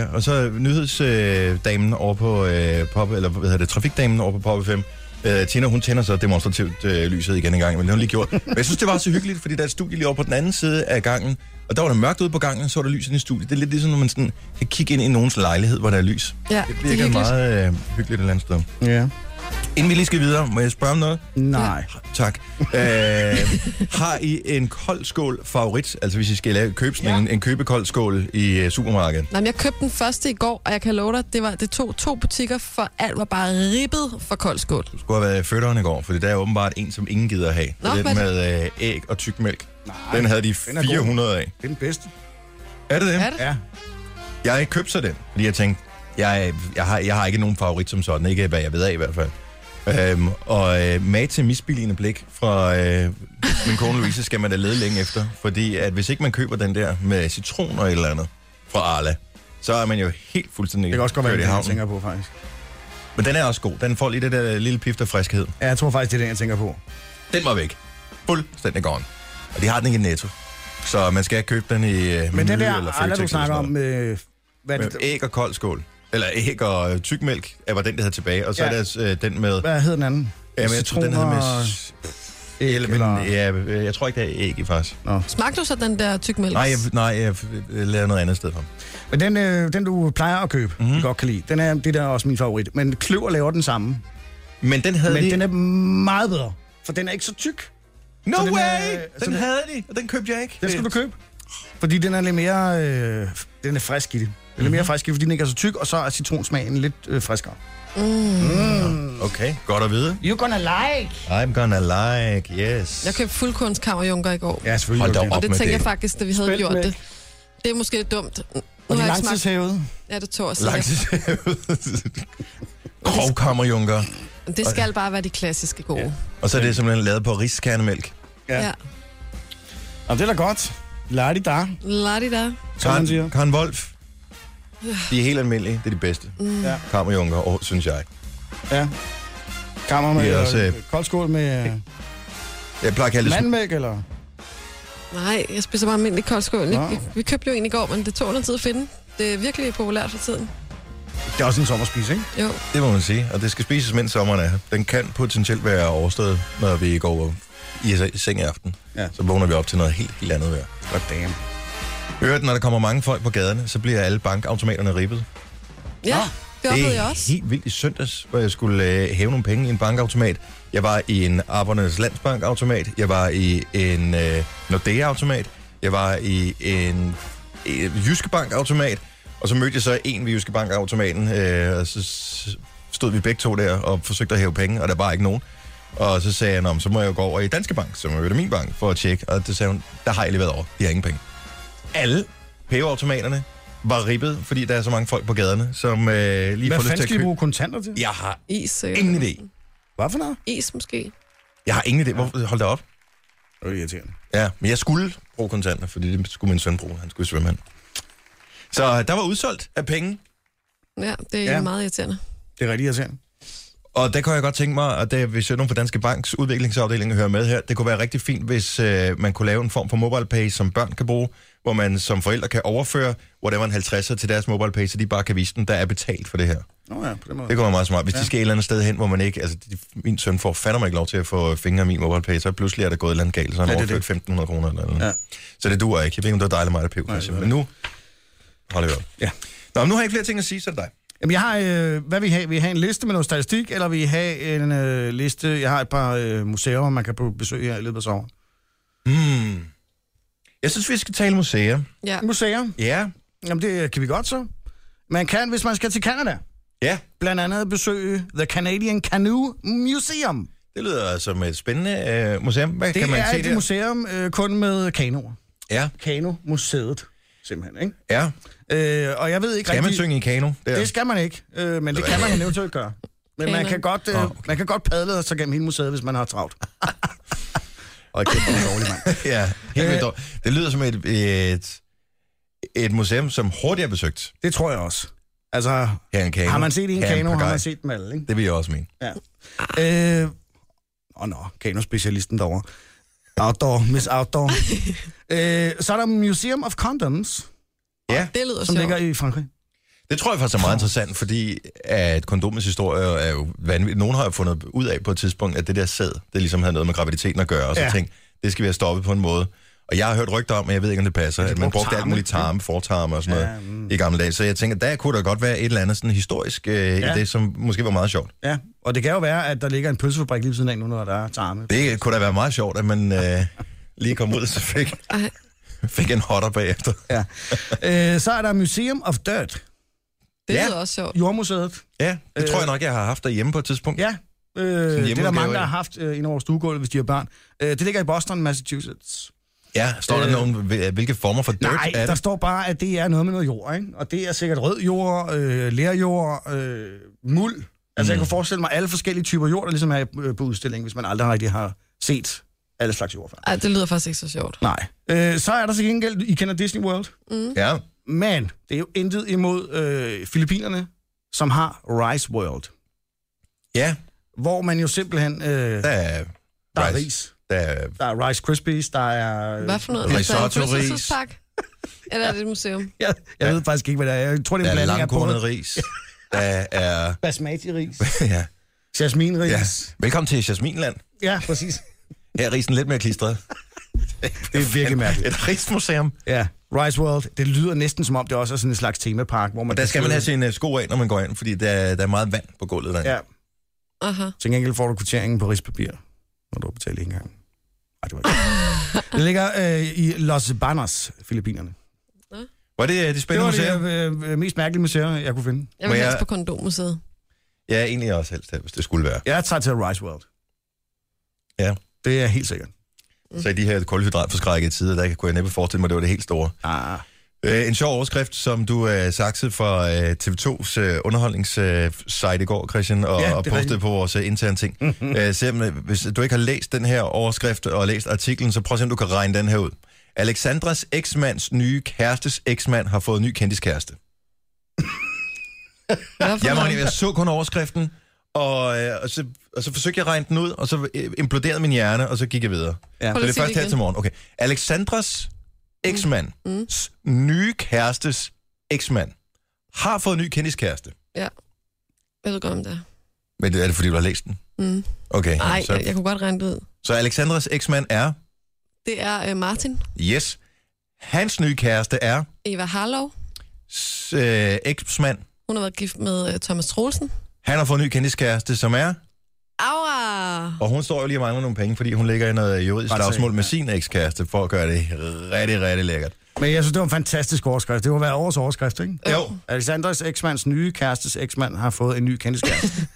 A: Øh, og så nyhedsdamen over på øh, pop, eller hvad hedder det, trafikdamen over på Pop 5. Øh, Tina, hun tænder så demonstrativt øh, lyset igen en gang, men det har hun lige gjort. Men jeg synes, det var så hyggeligt, fordi der er et studie lige over på den anden side af gangen, og der var der mørkt ude på gangen, så var der lys inde i studiet. Det er lidt ligesom, når man sådan kan kigge ind i nogens lejlighed, hvor der er lys.
D: Ja,
A: Det
D: det er
A: virker
D: hyggeligt.
A: meget øh, hyggeligt et eller andet sted.
B: ja.
A: Inden vi lige skal videre, må jeg spørge om noget?
B: Nej.
A: Tak. Øh, har I en kold skål favorit? Altså hvis I skal lave, købe sådan ja. en, en købekold skål i øh, supermarkedet.
D: Nej, men jeg købte den første i går, og jeg kan love dig, det, var, det tog to butikker, for alt var bare ribbet for kold skål.
A: Du skulle have været i fødderen i går, for det er åbenbart en, som ingen gider have.
D: Nå,
A: Nå, den
D: hvad-
A: med øh, æg og tyk mælk.
B: Nej.
A: Den havde de
B: den er god.
A: 400 af.
B: Det er den bedste.
A: Er det det?
D: Er det?
B: Ja.
A: Jeg købte så den, fordi jeg tænkte, jeg, jeg, har, jeg har ikke nogen favorit som sådan. Ikke hvad jeg ved af i hvert fald. Øhm, og øh, mad til misbilligende blik fra øh, min kone Louise skal man da lede længe efter. Fordi at hvis ikke man køber den der med citron og et eller andet fra Arla, så er man jo helt fuldstændig
B: Det kan også godt være,
A: kørt i
B: det er den, jeg
A: havnen.
B: tænker på, faktisk.
A: Men den er også god. Den får lige det der lille pift af friskhed.
B: Ja, jeg tror faktisk, det er den, jeg tænker på.
A: Den var væk. Fuldstændig gone. Og de har den ikke i Netto. Så man skal købe den i øh,
B: Men
A: Meny
B: den der
A: eller
B: Arla, du
A: Føtex
B: snakker
A: eller
B: om,
A: sådan
B: øh, hvad,
A: noget.
B: det,
A: Med æg og kold skål. Eller æg og øh, tykmælk er var den, der havde tilbage. Og så
B: Ja.
A: ja. er der øh, den med...
B: hvad hed den anden?
A: Ja, men jeg tror, den hedder med...
B: Citroner-
A: s-
B: æg,
A: Eller, men, ja, øh, jeg tror ikke, det er æg i faktisk.
B: Nå.
D: Smagte du så den der tyk mælk?
A: Nej, jeg, nej, jeg øh, laver noget andet sted for.
B: Men den, øh, den, du plejer at købe,
A: Mhm.
B: mm-hmm. godt kan lide, den er, det der er også min favorit. Men Kløver laver den samme.
A: Men den havde
B: Men
A: de...
B: den er meget bedre, for den er ikke så tyk.
A: No
B: så den
A: way!
B: er-
A: den,
B: så den-
A: havde de, og den købte jeg ikke.
B: Den skal du købe. Fordi den er lidt mere, øh, den er frisk i det. Den er lidt mere frisk i det, fordi den ikke er så tyk, og så er citronsmagen lidt øh, friskere.
A: Okay, godt at vide.
G: You're gonna like.
A: I'm gonna like, yes.
D: Jeg købte fuldkornskammerjunker i går.
B: Ja, selvfølgelig.
A: Hold
B: gør
A: da
B: den
A: op.
D: Og det
A: med
D: tænker
A: det.
D: jeg faktisk, da vi havde
B: Spelt
D: gjort
B: mælk.
D: det. Det er måske lidt dumt. Nu
B: Og de
D: har
B: er
D: jeg ikke smagt...
B: langtidshævet.
D: Ja, det tog også.
A: Langtidshavet. Grovkammerjunker.
D: Det skal bare være de klassiske gode. Ja.
A: Og så er det simpelthen lavet på riskernemælk.
B: Ja.
D: ja.
B: Og det er da godt. Lad det der.
D: Ladi da.
B: Som man siger.
A: Karen, Karen Wolf. De er helt almindelige. Det er de bedste.
B: Mm. Ja.
A: Kammerjunker, og, synes jeg.
B: Ja. Kammer med
A: Det er også,
B: også,
A: øh,
B: øh, kold skål med øh,
A: Jeg plejer at kalde det
B: mandmælk, eller?
D: Nej, jeg spiser bare almindelig koldskål.
B: Nå.
D: Vi, vi købte jo en i går, men det tog noget tid at finde. Det er virkelig populært for tiden.
B: Det er også en sommerspis, ikke?
D: Jo,
A: Det må man sige. Og det skal spises, mens sommeren er her. Den kan potentielt være overstået, når vi går i se- seng i aften.
B: Ja.
A: Så vågner vi op til noget helt, helt andet vejr.
B: God damn.
A: Øvrigt, når der kommer mange folk på gaderne, så bliver alle bankautomaterne ribbet.
D: ja, det oplevede
A: det
D: jeg
A: er
D: også.
A: helt vildt i søndags, hvor jeg skulle øh, hæve nogle penge i en bankautomat. Jeg var i en Arbejdernes Landsbankautomat. Jeg var i en øh, Nordea-automat. Jeg var i en øh, Jyske Bank-automat. Og så mødte jeg så en ved Jyske Bank-automaten. Øh, og så s- stod vi begge to der og forsøgte at hæve penge, og der var ikke nogen. Og så sagde han, om, så må jeg jo gå over i Danske Bank, som er min bank, for at tjekke. Og det sagde hun, der har jeg lige været over. De har ingen penge. Alle pengeautomaterne var ribbet, fordi der er så mange folk på gaderne, som øh, lige
B: Hvad
A: får lyst
B: fanden
A: til at
B: skal de
A: købe.
B: bruge kontanter til?
A: Jeg har
C: Is, øh,
A: ingen idé.
B: Hvad for noget?
D: Is måske.
A: Jeg har ingen idé. Hvorfor? Hold da op.
B: Det er irriterende.
A: Ja, men jeg skulle bruge kontanter, fordi det skulle min søn bruge. Han skulle i svømmehallen. Så der var udsolgt af penge,
D: Ja, det er
B: Ja.
D: ja. meget irriterende.
B: Det er rigtig irriterende.
A: og der kunne jeg godt tænke mig, at det, hvis nogen fra Danske Banks udviklingsafdeling hører med her, det kunne være rigtig fint, hvis øh, man kunne lave en form for mobile pay, som børn kan bruge, hvor man som forældre kan overføre whatever en 50'er til deres mobile pay, så de bare kan vise den, der er betalt for det her.
B: Nå ja, på den måde.
A: Det kunne være meget smart. Hvis ja. de skal et eller andet sted hen, hvor man ikke... Altså, de, min søn får fandme ikke lov til at få fingre i min MobilePay, så pludselig er der gået et eller andet galt, så har han
B: Ja,
A: ja,
B: det er
A: overført 1.500 kroner eller noget.
B: Ja.
A: Ja. Så det duer ikke. Jeg ved ikke, om det var dig eller mig, der piv, kanskje.
B: det var
A: Men nu holder vi op.
B: Ja.
A: Nå, men nu har jeg ikke flere ting at sige, så er det dig.
B: Jamen, jeg har, øh, hvad vi have? Vi have en liste med noget statistik, eller vi have en øh, liste? Jeg har et par øh, museer, man kan på besøg her i løbet af sommeren.
A: Hmm. Jeg synes, vi skal tale museer.
D: Ja.
B: Museer?
A: Ja.
B: Jamen, det kan vi godt så. Man kan, hvis man skal til Canada,
A: Ja,
B: blandt andet besøge The Canadian Canoe Museum.
A: det lyder som et spændende øh, museum. Hvad
B: Det
A: kan man
B: er
A: se
B: et
A: der?
B: museum øh, kun med kanoer.
A: Ja,
B: Kanomuseet, simpelthen, ikke?
A: ja.
B: Øh, og jeg ved ikke
A: Skal man
B: rigtig...
A: synge i kano? Der?
B: Det skal man ikke, øh, men det kan man eventuelt gøre. Men man
D: Kanon.
B: kan, godt, øh,
A: Nå, okay.
B: man kan godt padle sig gennem hele museet, hvis man har travlt. Og kæft, det er dårligt, mand.
A: ja, helt vildt dårligt. Det lyder som et, et, et museum, som hurtigt er besøgt.
B: Det tror jeg også. Altså,
A: Her er en kano.
B: har man set en
A: Her er
B: kano, har
A: papegøje.
B: man set dem alle, ikke?
A: Det vil jeg også mene.
B: Ja. Øh, og nå, kanospecialisten derovre. Outdoor, Miss Outdoor. øh, så er der Museum of Condoms,
A: Ja,
D: Det lyder
B: som
D: sjovt.
B: ligger i Frankrig.
A: det tror jeg faktisk er meget interessant, fordi at kondomets historie er jo vanvittig. Nogen har jo fundet ud af på et tidspunkt, at det der sæd, det ligesom havde noget med graviditeten at gøre, og så
B: Ja.
A: ja. tænkte, det skal vi have stoppet på en måde. Og jeg har hørt rygter om, men jeg ved ikke, om det passer,
B: de
A: at man
B: brugte
A: brugte alt
B: tarme,
A: muligt tarme, fortarme og sådan
B: Ja,
A: noget
B: mm.
A: i gamle dage. Så jeg tænker, der kunne der godt være et eller andet sådan historisk øh,
B: Ja.
A: ja. i det, som måske var meget sjovt.
B: Ja, og det kan jo være, at der ligger en pølsefabrik lige ved siden af nu, når der er tarme.
A: Det kunne da være meget sjovt, at man øh, lige kom ud, og så fik,
D: Ej.
A: fik en hotter bagefter.
B: Ja. øh, så er der Museum of Dirt,
C: Det
A: Ja.
C: lyder også sjovt.
B: jordmuseet.
A: Ja, det øh, tror jeg nok, jeg har haft derhjemme på et tidspunkt.
B: Ja, øh, det er der
A: hjemmeudgave,
B: mange, der
A: ja.
B: har haft øh, ind over stuegulvet, hvis de har børn. Øh, det ligger i Boston, Massachusetts.
A: ja står der
B: Øh,
A: øh, nogen, hvilke former for dirt
B: Nej,
A: er det?
B: der står bare, at det er noget med noget jord, ikke? Og det er sikkert rød jord, øh, lærjord, øh, muld. Altså, mm. jeg kunne forestille mig alle forskellige typer jord, der ligesom er øh, på udstillingen, hvis man aldrig rigtig har set alle slags jord før.
D: Ej, det lyder faktisk ikke så sjovt.
B: Nej. Øh, så er der til gengæld, I kender Disney World,
A: Ja.
B: men det er jo intet imod øh, Filippinerne, som har Rice World,
A: ja,
B: hvor man jo simpelthen... Øh,
A: der er
B: der er
A: rice.
B: ris.
A: Der er
B: Der er Rice Krispies, der er... øh,
D: Hvad for
A: Øh,
D: noget?
A: Risotto,
D: Altså, en
A: ris.
D: fødselsdagspakke? Eller er det et museum?
B: Jeg, jeg ved faktisk ikke, hvad det er. Jeg tror, det er
A: Der
B: en
A: er
B: blanding af
A: langkornet
B: både
A: ris. Der er...
B: basmati-ris,
A: Ja,
B: jasminris.
A: ja.
B: Ja.
A: Velkommen til Jasminland.
B: ja, præcis.
A: Her er risen lidt mere klistret.
B: Det er virkelig mærkeligt.
A: Et rismuseum.
B: Ja, Rice World, det lyder næsten som om, det også er sådan en slags temapark, hvor man...
A: Og der
B: kan
A: skal man
B: sidde-
A: have sine øh, sko af, når man går ind, fordi der, der er meget vand på gulvet derinde.
B: Ja,
D: Aha.
B: til gengæld får du kvitteringen på rispapir, når du betaler en gang. Ej, det var ikke. det ligger øh, i Los Banos, Filippinerne.
A: Var det øh, det
B: Det
A: spændende
B: var
A: museum?
B: det øh, mest mærkelige museum, jeg kunne finde.
D: Jeg
A: Må
D: vil
A: jeg-
D: helst på kondommuseet.
A: Ja, egentlig også helst, øh, hvis det skulle være.
B: Jeg tager til Rice World.
A: Ja.
B: Det er helt sikkert.
A: Mm. Så i de her kulhydratforskrækkede tider, der kunne jeg næppe forestille mig, at det var det helt store.
B: Ah,
A: Øh, en sjov overskrift, som du øh, saksede fra øh, TV2's øh, underholdningssite øh, site i går, Christian, og,
B: Ja, det er
A: ja, og postede
B: rigtigt.
A: på vores øh, interne ting. øh, simpelthen, hvis du ikke har læst den her overskrift og læst artiklen, så prøv at se, om du kan regne den her ud. Alexandras eksmands nye kærestes eksmand har fået ny kendiskæreste.
D: Hvad for
A: Jeg,
D: noget?
A: Marie, jeg så kun overskriften, og, øh, og, så, og så forsøgte jeg at regne den ud, og så øh, imploderede min hjerne, og så gik jeg videre.
B: Ja.
A: Så
D: Prøv lige
A: det er
D: at sige
A: først
D: det
A: her
D: igen.
A: til morgen. Okay. Alexandras eksmand, mm. nye kærestes eksmand, har fået ny kendiskæreste.
D: Ja. Jeg ved godt, om det er.
A: Men det er det, fordi du har læst den?
D: Mm.
A: Okay.
D: Ej,
A: så,
D: jeg, jeg kunne godt regne det ud.
A: så Alexandras eksmand er,
D: Det er øh, Martin
A: yes, hans nye kæreste er
D: Eva Harlov.
A: s- øh, eksmand.
D: Hun har været gift med øh, Thomas Troelsen.
A: Han har fået en ny kendiskæreste, som er,
D: Aura!
A: og hun står jo lige og mangler nogle penge, fordi hun ligger i noget juridisk
B: Retssag,
A: slagsmål med
B: ja.
A: sin ekskæreste, for at gøre det rigtig, rigtig lækkert.
B: Men jeg synes, det var en fantastisk overskrift. Det var hver års overskrift, ikke?
A: Jo,
B: Alexanders eksmands nye kærestes eksmand har fået en ny kendiskæreste.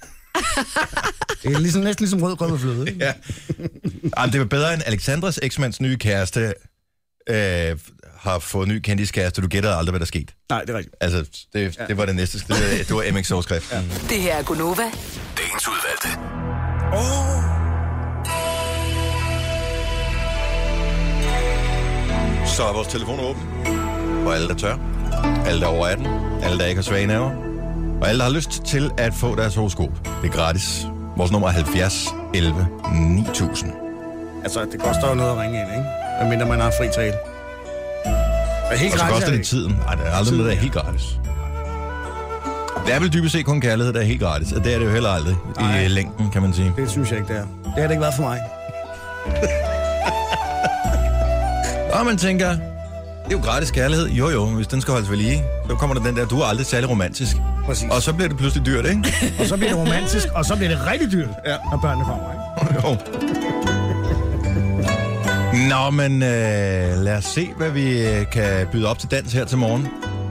B: Det er ligesom, næsten ligesom rød grød med fløde. Ikke?
A: Ja. Jamen, det var bedre end Alexandras eksmands nye kæreste øh, har fået ny Candys kæreste. Du gættede aldrig, hvad der skete.
B: Nej, det er rigtigt.
A: Altså, det, det var det næste. Det, det var MX overskrift. Ja.
E: Det her er Gunova.
F: Dagens udvalgte.
A: Så er vores telefon åben. Og alle, der tør. Alle, der er over 18. Alle, der ikke har svage nerver. Og alle, der har lyst til at få deres horoskop. Det er gratis. Vores nummer er 70 11 9000.
B: Altså, det koster jo noget at ringe ind, ikke? Medmindre man har fri tale. Men helt
A: Og så
B: gratis
A: koster
B: er
A: det tiden. Nej, der er aldrig noget, der er helt gratis. Der er vel dybest set kun kærlighed, der er helt gratis. Og det er det jo heller aldrig
B: Nej.
A: i øh, længden, kan man sige.
B: Det synes jeg ikke, det er. Det har det ikke været for mig.
A: Og man tænker, det er jo gratis kærlighed. Jo jo, men hvis den skal holdes ved lige, så kommer der den der, du er aldrig særlig romantisk.
B: Præcis.
A: Og så bliver det pludselig dyrt, ikke?
B: Og så bliver det romantisk, og så bliver det rigtig dyrt, ja. når børnene kommer, ikke?
A: jo. Nå, men øh, lad os se, hvad vi øh, kan byde op til dans her til morgen.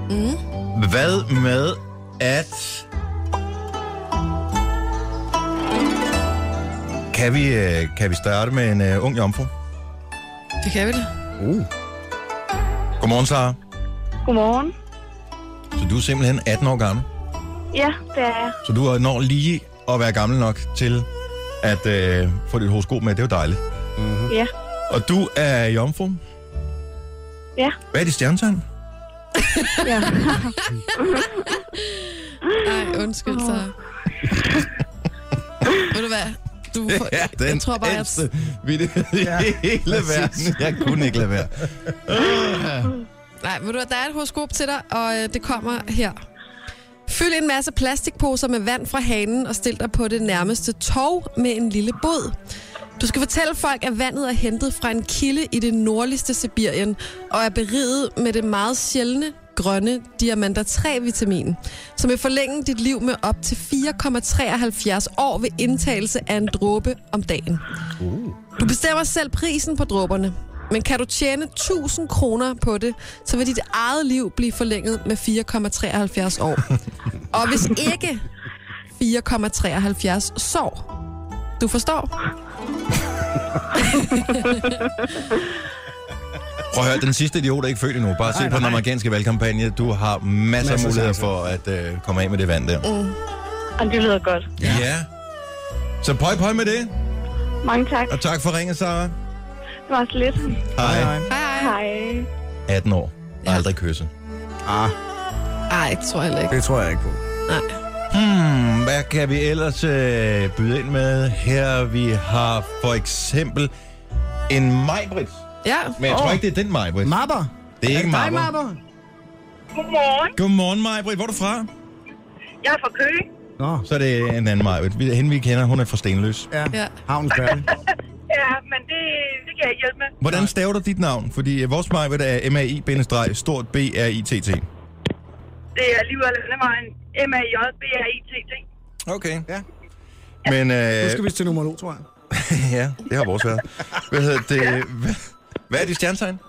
A: Mm. Hvad med at... Kan vi, øh, kan vi starte med en øh, ung jomfru?
C: Det kan vi da.
B: Uh.
A: Godmorgen, Sara.
H: Godmorgen.
A: Så du er simpelthen 18 år gammel.
H: Ja, det er jeg.
A: Så du når lige at være gammel nok til at øh, få dit horoskop med. Det er jo dejligt.
B: Mm.
H: Ja.
A: Og du er jomfru.
H: Ja.
A: Hvad er dit stjernetegn?
H: ja.
C: Nej, undskyld så. Ved du hvad? Du får, ja, den jeg tror bare, jeg...
A: ældste vittighed i ja, hele verden. Jeg kunne ikke lade være.
D: Nej, ved du, hvad, der er et horoskop til dig, og øh, det kommer her. Fyld en masse plastikposer med vand fra hanen og stil dig på det nærmeste tog med en lille båd. Du skal fortælle folk, at vandet er hentet fra en kilde i det nordligste Sibirien og er beriget med det meget sjældne grønne diamanter 3-vitamin, som vil forlænge dit liv med op til 4,73 år ved indtagelse af en dråbe om dagen. Du bestemmer selv prisen på dråberne. Men kan du tjene 1000 kroner på det, så vil dit eget liv blive forlænget med 4,73 år. Og hvis ikke 4,73 sår. Du forstår?
A: Prøv at høre, den sidste idiot er ikke født endnu. Bare se på den amerikanske valgkampagne. Du har masser af
B: Masser af
A: muligheder
B: chancer.
A: for at øh, komme af med det vand der.
H: Og det lyder godt.
A: Ja. ja. Så pøj pøj med det.
H: Mange tak.
A: Og tak for ringen, Sara.
H: Det var så lidt.
A: Hej.
B: Nej.
H: Hej.
A: 18 år. Og aldrig kysse.
B: Ah,
D: Nej, det tror jeg heller ikke.
B: det tror jeg ikke på.
A: Hmm, hvad kan vi ellers øh, byde ind med her? Vi har for eksempel en Majbrit.
D: Ja,
A: Men jeg tror ikke, det er den Majbrit.
B: Mapper?
A: Det er ikke
B: Dig,
A: Majbrit.
B: Mapper?
H: Godmorgen.
A: Godmorgen, Majbrit. Hvor er du fra?
H: Jeg er fra Køge.
B: Nå,
A: Så er det en anden Majbrit. Vi- Hende vi kender, hun er fra Stenløs.
B: ja.
D: Ja.
B: Havnens Perle.
H: Ja, men det, det kan jeg ikke hjælpe med.
A: Hvordan staver du dit navn? Fordi øh, vores Majbrit er MAI-bindestreg, stort B-R-I-T-T.
H: Det er livet af landevejen. M-A-J-B-R-I-T-T.
A: Okay.
B: Ja.
A: Men,
B: Nu
A: øh,
B: skal vi til nummer 2, tror jeg.
A: ja, det har vores været. Hvad hedder det? Hva- Hvad er dit stjernetegn?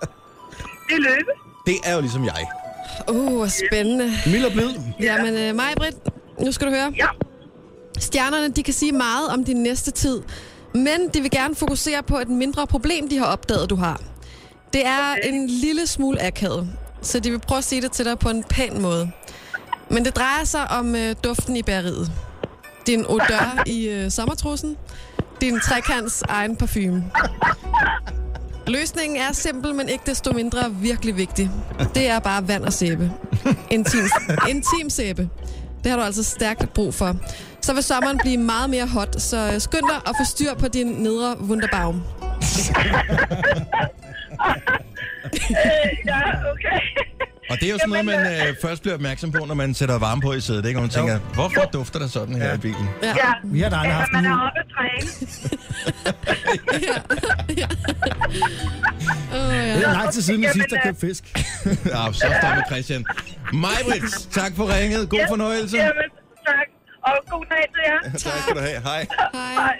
H: Det er løbe.
A: Det er jo ligesom jeg.
D: uh, hvor spændende.
B: Mild og blid.
D: Jamen, øh, mig, Britt, nu skal du høre.
H: Ja.
D: Stjernerne, de kan sige meget om din næste tid, men de vil gerne fokusere på et mindre problem, de har opdaget, du har. Det er okay. en lille smule akavet, så de vil prøve at sige det til dig på en pæn måde. Men det drejer sig om øh, duften i bæreriet. Din odør i øh, sommertrussen. Din trekants egen parfume. Løsningen er simpel, men ikke desto mindre virkelig vigtig. Det er bare vand og sæbe. Intim, intim sæbe. Det har du altså stærkt brug for. Så vil sommeren blive meget mere hot, så øh, skynd dig at få styr på din nedre wunderbaum.
H: Øh, ja, okay.
A: Og det er jo sådan noget,
H: Jamen,
A: man øh, først bliver opmærksom på, når man sætter varme på i sædet, ikke? Og man tænker, hvorfor dufter der sådan her i bilen?
D: Ja.
H: Ja.
B: Vi har da aldrig
H: Eller
B: haft en
H: man er
B: jul.
H: oppe at træne.
D: Oh, ja.
B: Det er lang tid siden, vi
H: Jamen,
B: sidst har
H: øh,
B: købt fisk.
A: Ja, Ah, så står med Christian. Majbrits, tak for ringet. God fornøjelse.
H: Jamen, tak. Og god dag til jer.
A: Tak skal du have. Hej.
D: Hej.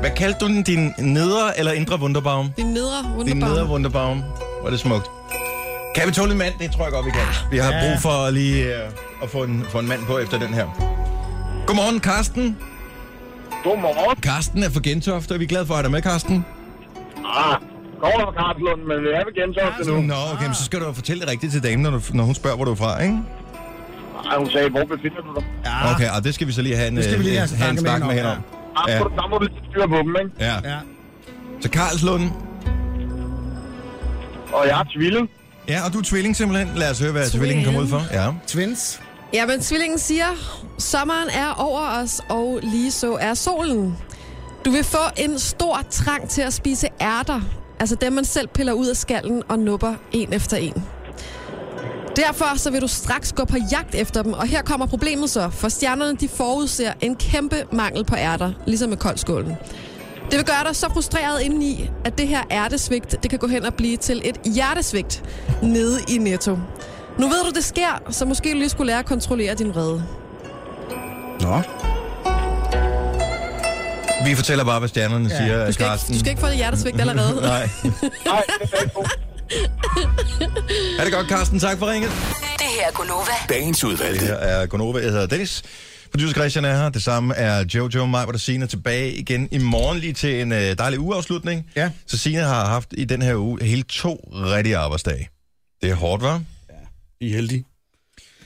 A: Hvad kaldte du den? Din nedre eller indre wunderbaum?
D: Din nedre
A: Din
D: wunderbaum.
A: nedre wunderbaum. Hvor er det smukt. Kan vi tåle en mand? Det tror jeg godt, vi kan. Vi har brug for lige øh, at få en, få en mand på efter den her. Godmorgen, Karsten.
I: Godmorgen.
A: Karsten er fra Gentofte, og vi er glade for at have dig med, Karsten.
I: Ah, kommer fra Karplund, men vi er ved Gentofte nu.
A: Nå, okay, men så skal du jo fortælle det rigtigt til damen, når, du, når hun spørger, hvor du er fra, ikke?
I: Ej, hun sagde, hvor befinder du dig?
A: Ja. Okay, og det skal vi så lige have en,
B: Ah. Det skal vi lige
A: øh,
B: have en
A: have en
B: snak
A: snak
B: med
A: med
B: hende
A: hende om.
B: om,
I: Ah,
A: Ja.
I: ja. Der må du lige styre på dem, ikke?
A: Ja.
B: Ja.
A: Så Karlslund.
I: Og jeg er tvilling.
A: Ja, og du er tvilling simpelthen. Lad os høre, hvad tvillingen kommer ud for. Ja.
B: Twins.
D: Ja, men tvillingen siger, sommeren er over os, og lige så er solen. Du vil få en stor trang til at spise ærter, altså dem, man selv piller ud af skallen og nupper en efter en. Derfor så vil du straks gå på jagt efter dem, og her kommer problemet så, for stjernerne de forudser en kæmpe mangel på ærter, ligesom med koldskålen. Det vil gøre dig så frustreret indeni, at det her ærtesvigt, det kan gå hen og blive til et hjertesvigt nede i Netto. Nu ved du, det sker, så måske du lige skulle lære at kontrollere din vrede.
B: Nå.
A: Vi fortæller bare, hvad stjernerne ja. siger,
D: Du skal, ikke,
A: Karsten.
D: du skal ikke få det hjertesvigt allerede.
A: Nej.
I: Nej, det er ikke godt.
A: Er det godt, Karsten? Tak for ringet.
E: Det her er Gunova.
F: Dagens
A: Det
F: udvalgte.
A: her er Gonova. Jeg hedder Dennis. Producer Christian er her. Det samme er Jojo, mig og Sina tilbage igen i morgen lige til en øh, dejlig ugeafslutning.
B: Ja.
A: Så Sina har haft i den her uge hele to rigtige arbejdsdage. Det er hårdt, var?
B: I er heldige.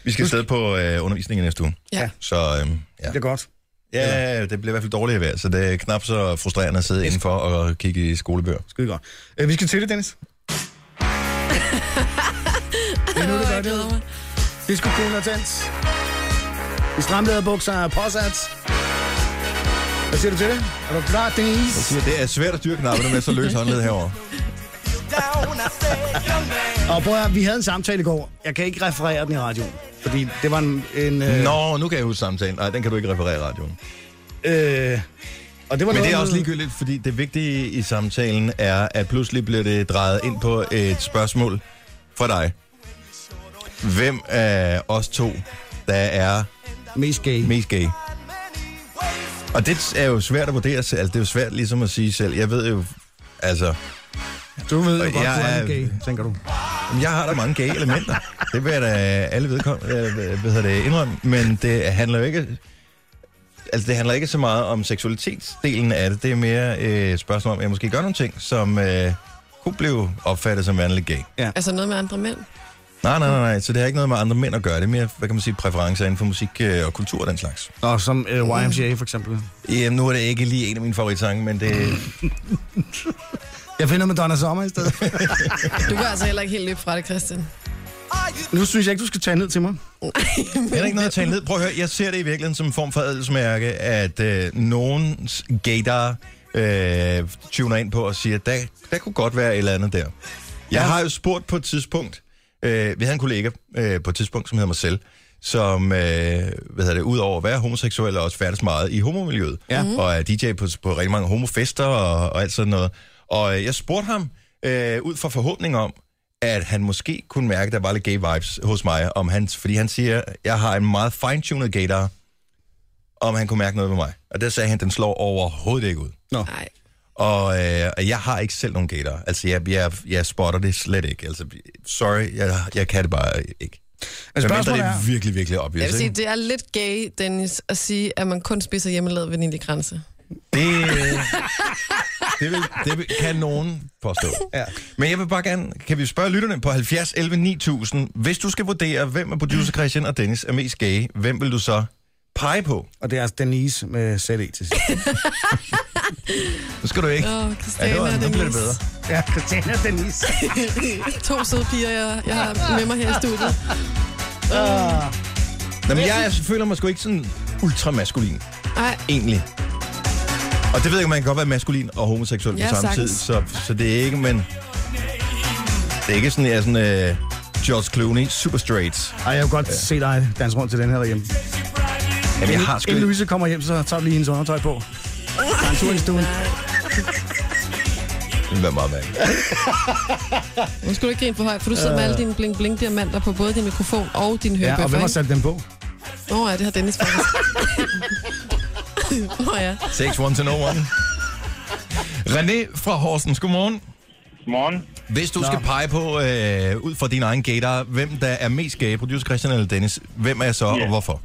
A: Vi skal afsted på øh, undervisning i næste uge.
D: Ja.
A: Så øh, ja.
B: Det er godt.
A: ja, det bliver i hvert fald dårligere vejr, så det er knap så frustrerende at sidde indenfor og kigge i skolebøger.
B: Skide godt. Øh, vi skal til det, Dennis. det er nu, det gør det. Disco Cool og Dans. De stramlede bukser er påsat. Hvad siger du til det? Er du klar, Dennis?
A: Så det er svært at styre knapperne med så løs håndled herovre.
B: Og prøv at, høre, vi havde en samtale i går. Jeg kan ikke referere den i radioen, fordi det var en... en øh,
A: Nå, nu kan jeg huske samtalen. Nej, den kan du ikke referere i radioen.
B: Øh, og det var
A: Men
B: noget
A: det er også
B: med-
A: ligegyldigt, fordi det vigtige i samtalen er, at pludselig bliver det drejet ind på et spørgsmål for dig. Hvem af os to, der er
B: Mest gay.
A: mest gay? Og det er jo svært at vurdere selv. Altså, det er jo svært ligesom at sige selv. Jeg ved jo, altså,
B: Du ved jo
A: Og
B: godt, du
A: jeg
B: er
A: er-
B: gay, tænker du.
A: Jamen, Jeg har da mange gay elementer. Det vil jeg da alle vedkommende øh, hvad hedder det, indrømme. Men det handler jo ikke... Altså, det handler ikke så meget om seksualitetsdelen af det. Det er mere øh, et spørgsmål om, at jeg måske gør nogle ting, som øh, kunne blive opfattet som værende lidt gay.
D: Altså noget med andre mænd.
A: Nej, nej, nej, nej. Så det har ikke noget med andre mænd at gøre. Det er mere, hvad kan man sige, præferencer inden for musik øh, og kultur og den slags.
B: Nå, som øh, YMCA for eksempel.
A: Jamen, nu er det ikke lige en af mine favoritsange, men det...
B: Jeg finder med Donna Sommer i stedet.
D: Du kan altså heller ikke helt løbe fra det, Christian.
B: nu synes jeg ikke, du skal tage ned til mig.
A: Det er der ikke noget at tale ned. Prøv at høre, jeg ser det i virkeligheden som en form for adelsmærke, at øh, nogen gator øh, tuner ind på og siger, der, der kunne godt være et eller andet der. Jeg har jo spurgt på et tidspunkt, øh, vi havde en kollega øh, på et tidspunkt, som hedder mig selv, som, øh, hvad hedder det, udover at være homoseksuel, også færdes meget i homomiljøet. Ja. Og er DJ på, på rigtig mange homofester og, og alt sådan noget. Og øh, jeg spurgte ham, øh, ud fra forhåbning om, at han måske kunne mærke, at der var lidt gay vibes hos mig, om han, fordi han siger, jeg har en meget fine-tuned gator, om han kunne mærke noget ved mig. Og der sagde han, den slår overhovedet ikke ud.
D: Nej.
A: Og, øh, og jeg har ikke selv nogen gator. Altså, jeg, jeg, jeg spotter det slet ikke. Altså, sorry, jeg, jeg kan det bare ikke.
B: Men
A: Men mindre
B: spørgsmålet
A: det
B: er...
A: er virkelig, virkelig obvious,
D: Jeg vil sige,
A: ikke?
D: det er lidt gay, Dennis, at sige, at man kun spiser hjemmelavet vaniljekranse.
A: Det, øh, det, vil, det vil, kan nogen påstå. Ja. Men jeg vil bare gerne, kan vi spørge lytterne på 70 11 9000, hvis du skal vurdere, hvem af producer Christian og Dennis er mest gay, hvem vil du så pege på?
B: Og det er altså Denise med ZE til sidst.
A: Så skal du ikke.
D: Åh, oh, Christiane
A: det var-
D: og
A: nu bliver det
D: Denise.
B: ja, Christiane og Denise.
D: To søde piger, jeg, jeg har med mig her i studiet.
A: Nå, men jeg er, føler mig sgu ikke sådan ultramaskulin,
D: Nej,
A: egentlig. Og det ved jeg ikke, man kan godt være maskulin og homoseksuel
D: Ja,
A: på samme
D: sagtens.
A: tid, så, så det er ikke, men... Det er ikke sådan, jeg er sådan... Øh, George Clooney, super straight.
B: Ej, jeg vil godt se dig danse rundt til den her derhjemme.
A: Jamen, jeg har sgu
B: Inden
A: ikke-
B: Louise kommer hjem, så tager du lige hendes undertøj på. Der er en tur i stuen.
A: Det ville være meget mærkeligt.
D: nu skal du ikke grine for højt, for du sidder med
A: Øh.
D: alle dine bling-bling-diamanter på både din mikrofon og din
B: Ja,
D: hørebøffer.
B: og hvem har sat dem på?
D: Nå ja, det har Dennis faktisk. Nå ja.
A: Takes one to know one. René fra Horsens, godmorgen.
I: Morgen.
A: Hvis du Nå. skal pege på, øh, ud fra din egen gator, hvem der er mest gay, producer Christian eller Dennis, hvem er jeg så, yeah. og hvorfor?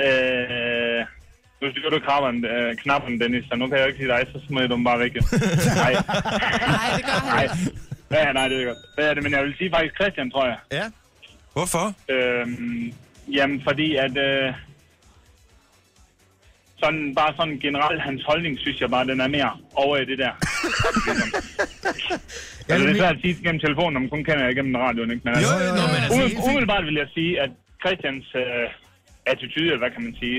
I: Øh, Nu styrer du krabberen, øh, knappen, Dennis, så nu kan jeg jo ikke sige dig, så smider du dem bare væk. jo. nej.
D: Nej, det gør han
I: Nej.
D: ikke.
I: Ja, nej, det er godt. Ja, det- men jeg vil sige faktisk Christian, tror jeg.
B: Ja.
A: Hvorfor?
I: Øhm, jamen, fordi at... Øh, sådan, bare sådan generelt, hans holdning, synes jeg bare, den er mere over i det der. Ligesom. altså, det er svært at sige gennem telefonen, når man kun kender jer gennem radioen, ikke? Men
A: Jo,
I: altså,
A: jo, jo.
I: Umiddel- Umiddelbart vil jeg sige, at Christians øh, attitude, eller hvad kan man sige,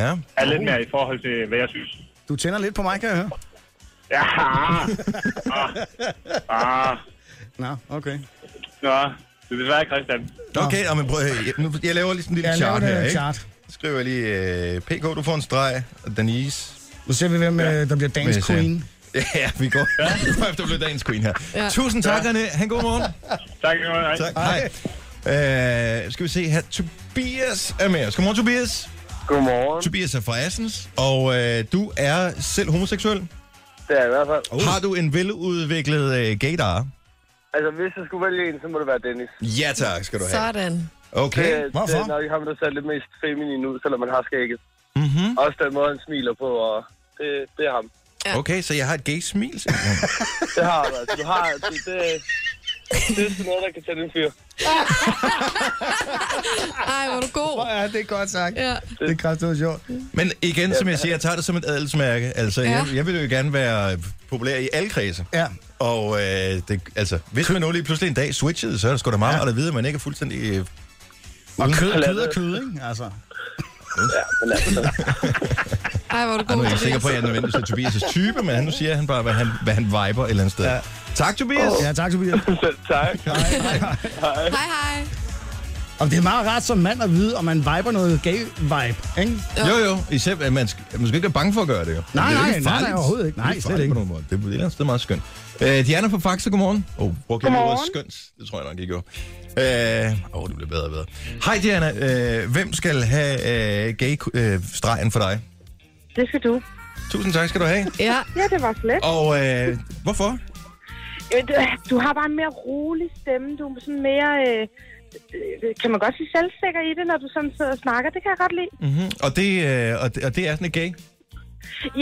A: Ja.
I: er lidt mere i forhold til, hvad jeg synes.
B: Du tænder lidt på mig, kan jeg høre.
I: Ja, ah, ah,
B: Nå, okay.
I: nå, det er desværre Christian.
A: Okay, og men prøv, at- jeg, nu, jeg laver lige sådan en lille
B: Jeg
A: chart
B: laver
A: her,
B: en
A: ikke?
B: chart.
A: Så skriver jeg lige øh, PK, du får en streg, og Denise.
B: Nu ser vi, hvem øh, der bliver
A: vil
B: dance
A: jeg sige.
B: queen.
A: Ja, vi går ja. efter at blive dagens queen her. Ja.
D: Ja.
A: Tusind tak, ja. René. Han god morgen.
I: Tak, hej.
A: Tak. Hej. Øh, skal vi se her. Tobias er med os. Godmorgen, Tobias.
I: Godmorgen.
A: Tobias er fra Assens, og øh, du er selv homoseksuel.
I: Det er i hvert fald.
A: Uh. Har du en veludviklet øh, gaydar?
I: Altså, hvis jeg skulle vælge en, så må det være Dennis.
A: Ja tak, skal du have.
D: Sådan.
A: Okay.
I: Øh, Det, det
B: hvorfor?
I: er nok ham, der ser lidt mest feminin ud, selvom man har skægget.
B: Mhm.
I: Mm-hmm. Også den måde, han smiler på, og det, det er ham.
A: Okay, så jeg har et gay smil. simpelthen.
I: Det har du, altså. Du har, det, det, det er sådan noget, der kan tage den fyr.
D: Ej, hvor er du god.
B: Ja, det er godt sagt.
D: Ja.
B: Det er kraftigt sjovt.
A: Men igen, som jeg siger, jeg tager det som et adelsmærke. Altså, ja.
D: Ja.
A: jeg, jeg vil jo gerne være populær i alle kredse.
B: Ja.
A: Og øh, det, altså, hvis man nu lige pludselig en dag switchede, så er det sgu da meget ja. at vide, at man ikke er fuldstændig... Øh,
B: Og kød, kød og kød, ikke? Altså.
D: Ej, hvor er du
A: nu
D: god.
A: er jeg ikke sikker
D: Tobias.
A: på, at jeg nødvendigvis er Tobias' type, men han, nu siger han bare, hvad han, hvad han viber et eller andet sted. Ja.
B: Ja.
A: Tak, Tobias!
B: Ja, tak, Tobias.
I: tak.
D: Hej, hej.
B: Og det er meget rart som mand at vide, om man viber noget gay-vibe, ikke?
A: Jo, jo, især, at man skal, man skal ikke være bange for at gøre det, jo.
B: Nej,
A: det er jo
B: nej,
A: ikke
B: nej,
A: farligt.
B: nej, overhovedet ikke.
A: Det er
B: Nej,
A: farligt
B: slet
A: På
B: ikke.
A: nogen måde. Det er et eller andet sted meget skønt. Øh, Diana fra Faxe, godmorgen. Åh, oh, brugte jeg lige ordet
H: Godmorgen.
A: skønt? Det tror jeg nok, I gjorde. Åh, øh, oh, det bliver bedre og bedre. Hej, Diana. Øh, hvem skal have øh, gay-stregen for dig?
H: Det skal du.
A: Tusind tak skal du have.
D: Ja,
H: Ja, det var slet.
A: Og øh, hvorfor?
H: Jamen, Øh, du- Du har bare en mere rolig stemme. Du er sådan mere... Øh, øh, kan man godt sige selvsikker i det, når du sådan sidder og snakker? Det kan jeg godt lide.
B: Mm.
A: Mm-hmm. Og, det, øh, og, det, og det er sådan et gay.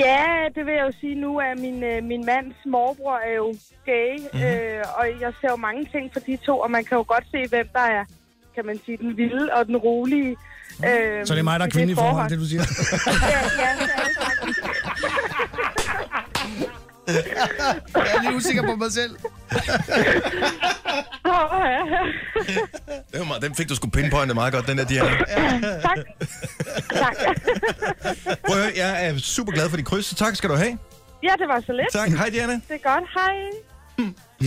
H: Ja, det vil jeg jo sige nu, at min, øh, min mands morbror er jo gay,
B: Mhm.
H: mm-hmm. øh, og jeg ser jo mange ting for de to, og man kan jo godt se, hvem der er, kan man sige, den vilde og den rolige. Øh,
B: Mhm. Så det er mig, der er kvinde i forhold, det du siger.
H: Ja, ja, det er det faktisk.
B: Jeg er lidt usikker på mig selv.
H: Åh, ja.
A: Det var meget, den fik du sgu pinpointet meget godt, den der Diana.
H: Tak. tak.
A: Prøv at høre, jeg er super glad for dit kryds, så tak skal du have.
H: Ja, det var så lidt.
A: Tak. Hej, Diana.
H: Det er godt. Hej.
D: Nå.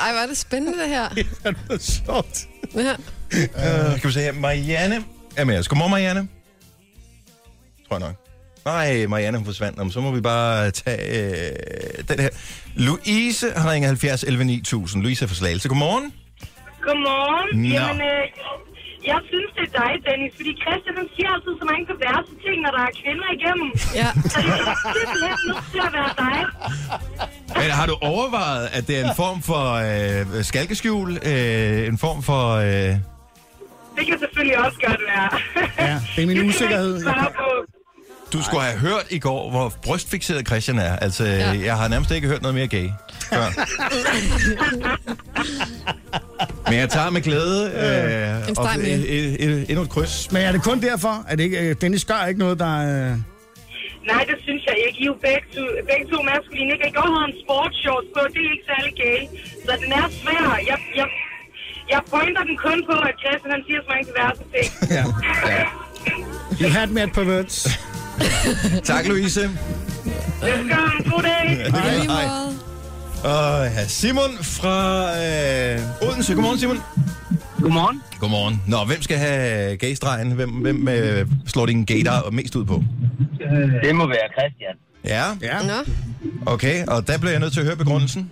D: Ej, hvor er det spændende, det her.
B: Det er sjovt.
D: Ja.
A: Øh, kan vi se her, Marianne er med os. Godmorgen, Marianne. Tror jeg nok. Nej, Marianne hun forsvandt. Jamen, så må vi bare tage øh, den her. Louise har ringet 70 11 9000. Louise er fra Slagelse. Godmorgen.
H: Godmorgen.
A: Nå.
H: Jamen, øh, jeg synes, det er dig, Dennis, fordi Christian han siger altid så mange perverse ting, når der er kvinder igennem.
D: ja.
H: Så det er simpelthen nødt til at være dig.
A: Men har du overvejet, at det er en form for øh, skalkeskjul? Øh, en form for... Øh...
H: Det kan selvfølgelig også godt være.
B: Ja, det er min
H: kan man
B: usikkerhed.
H: ikke svare på.
A: Du skulle have hørt i går, hvor brystfixeret Christian er. Altså, ja. jeg har nærmest ikke hørt noget mere gay. Før. Men jeg tager med glæde øh,
D: En
A: og,
D: streg mere.
A: et, et, et, endnu et kryds.
B: Men er det kun derfor, at det ikke, øh, Dennis gør ikke noget, der... Øh...
H: Nej, det synes jeg ikke. I er jo begge to, begge to maskuline. ikke? I går havde en sportsshorts på, det er ikke særlig gay. Så den er svær. Jeg, jeg, jeg pointer den kun på, at Christian han siger så mange diverse ting.
B: Ja. You had me at perverts.
A: Tak, Louise.
H: Velkommen. God dag.
D: I lige
A: Hej.
D: måde.
A: Og ja, Simon fra øh, Odense. Godmorgen, Simon.
I: Godmorgen.
A: Godmorgen. Nå, hvem skal have gaystregen? Hvem, hvem øh, slår din gaydar mest ud på?
I: Det må være Christian.
A: Ja,
B: Ja.
D: Nå.
A: okay. Og der bliver jeg nødt til at høre begrundelsen.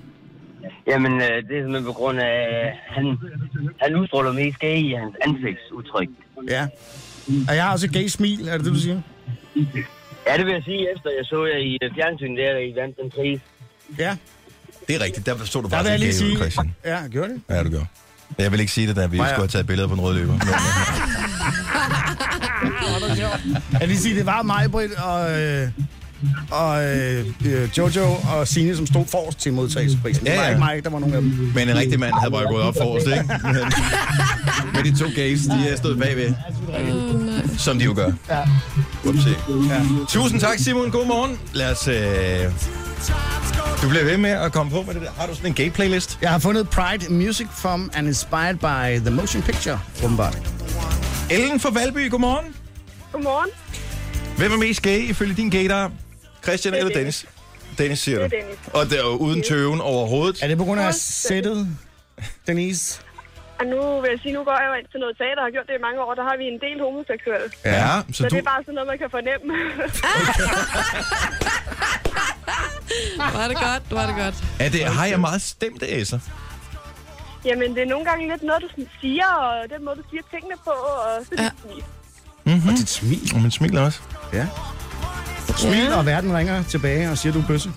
I: Jamen, øh, det er simpelthen på grund af, øh, han, han udstråler mest gay i hans ansigtsudtryk.
B: ja. Og jeg har også et gay smil, er det det, du siger?
I: Ja, det vil jeg sige, efter jeg så jer i øh, fjernsynet der, i vandt den pris.
B: Ja,
A: Det er rigtigt. Der stod du
B: der vil jeg
A: faktisk
B: lige
A: ikke gay
B: sige...
A: ud, Christian.
B: Ja, jeg gjorde det.
A: Ja, du gør. Jeg vil ikke sige det, da vi
B: Nej, ja.
A: øh, skulle have taget billeder på en rød løber. Men,
B: Jeg vil sige, det var mig, Britt, og, øh, og øh, øh, Jojo og Signe, som stod forrest til modtagelsesprisen. Det
A: Ja,
B: var
A: ja.
B: ikke mig, der var nogen af dem.
A: Men en rigtig mand havde bare gået op forrest, ikke? Men- Men de to gays, de øh, stod bagved. Som de jo gør.
B: Ja.
A: Upsi. Tusind tak, Simon. God morgen. Lad os... Øh... Du bliver ved med at komme på med det der. Har du sådan en gay-playlist?
B: Jeg har fundet Pride Music from and Inspired by the Motion Picture, åbenbart.
A: Ellen fra Valby, godmorgen.
H: Godmorgen.
A: Hvem er mest gay ifølge din gator? Christian eller Dennis? Dennis, siger du.
H: Det er Dennis.
A: Og det er jo uden tøven overhovedet.
B: Er det på grund af sættet, Denise?
H: Og nu vil jeg sige, nu går jeg jo ind til noget teater og har gjort det i mange år. Der har vi en del homoseksuelle. Så,
A: Ja,
H: så
A: så
H: det
A: du...
H: er bare sådan noget, man kan fornemme.
D: Var det godt, var det godt.
A: Er det, har jeg meget stemte æsser?
H: Jamen, det er nogle gange lidt noget, du sådan siger, og den måde, du siger tingene på, og så ja.
B: Og dit smil.
A: Og man smiler også.
B: Ja. Smil, og verden ringer tilbage og siger, du er bøsse.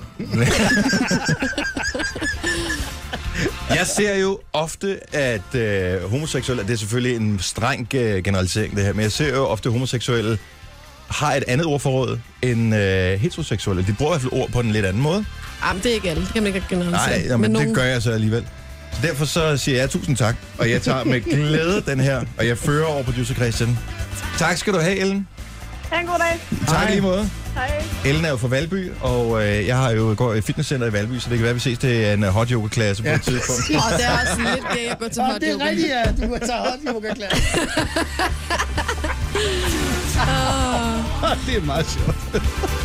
A: Jeg ser jo ofte, at øh, homoseksuelle, det er selvfølgelig en streng øh, generalisering det her, men jeg ser jo ofte, at homoseksuelle har et andet ordforråd end øh, heteroseksuelle. De bruger i hvert fald ord på en lidt anden måde.
D: Jamen, det er ikke alle. Det kan man ikke generalisere.
A: Nej, jamen, det gør jeg så alligevel. Så derfor så siger jeg tusind tak, og jeg tager med glæde den her, og jeg fører over producer Christian. Tak skal du have, Ellen.
H: Ha' en god dag.
A: Tak i lige måde.
H: Hej.
A: Ellen er jo fra Valby, og øh, jeg har jo går i fitnesscenter i Valby, så det kan være, vi ses til en øh, hot yoga-klasse på et tidspunkt.
D: Og det er også lidt gay at gå til hot yoga.
B: ja. Du har taget hot yoga klar. det er meget sjovt.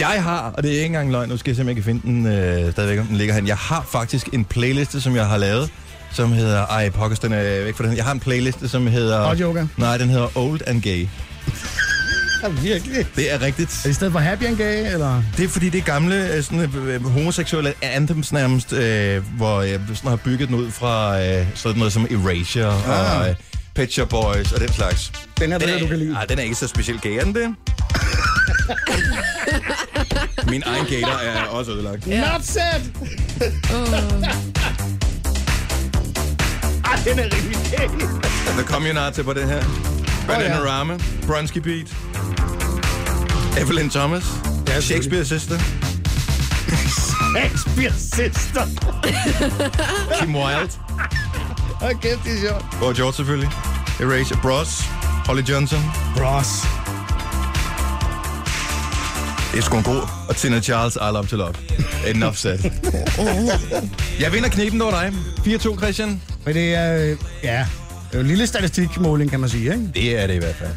A: Jeg har, og det er ikke engang løgn, nu skal jeg se, om jeg kan finde den øh, stadigvæk, om den ligger herinde. Jeg har faktisk en playliste, som jeg har lavet, som hedder... Ej, pokkers, den er væk fra den. Jeg har en playliste, som hedder...
B: Hot yoga.
A: Nej, den hedder Old and Gay.
B: Ja, virkelig.
A: Det er rigtigt.
B: Er det i stedet for happy and gay, eller?
A: Øh, Det er fordi, det er gamle øh, sådan, øh, øh, homoseksuelle anthems nærmest, øh, hvor jeg sådan har bygget den ud fra øh, sådan noget som Erasure ah. og øh, Pet Shop Boys og den slags.
B: Den her ved jeg, du kan lide.
A: Ej, den er ikke så specielt gay, er den det? Min egen gator er også ødelagt.
B: Not sad! Ej, den er rigtig gay.
A: The Communarte på det her. Bananarama, Brunsky Beat, Evelyn Thomas,
B: selvfølgelig.
A: Shakespeare Sister,
B: Shakespeare sister.
A: Kim Wilde,
B: Hold kæft, det er sjovt.
A: og George selvfølgelig, Erasure Bros, Holly Johnson.
B: Bros.
A: Det er sgu en god. Og Tina Charles, I love to love. Enough said. Jeg vinder kniben over dig. 4-2, Christian.
B: Men det er, øh, ja, det er jo en lille statistikmåling, kan man sige, ikke?
A: Det er det i hvert fald.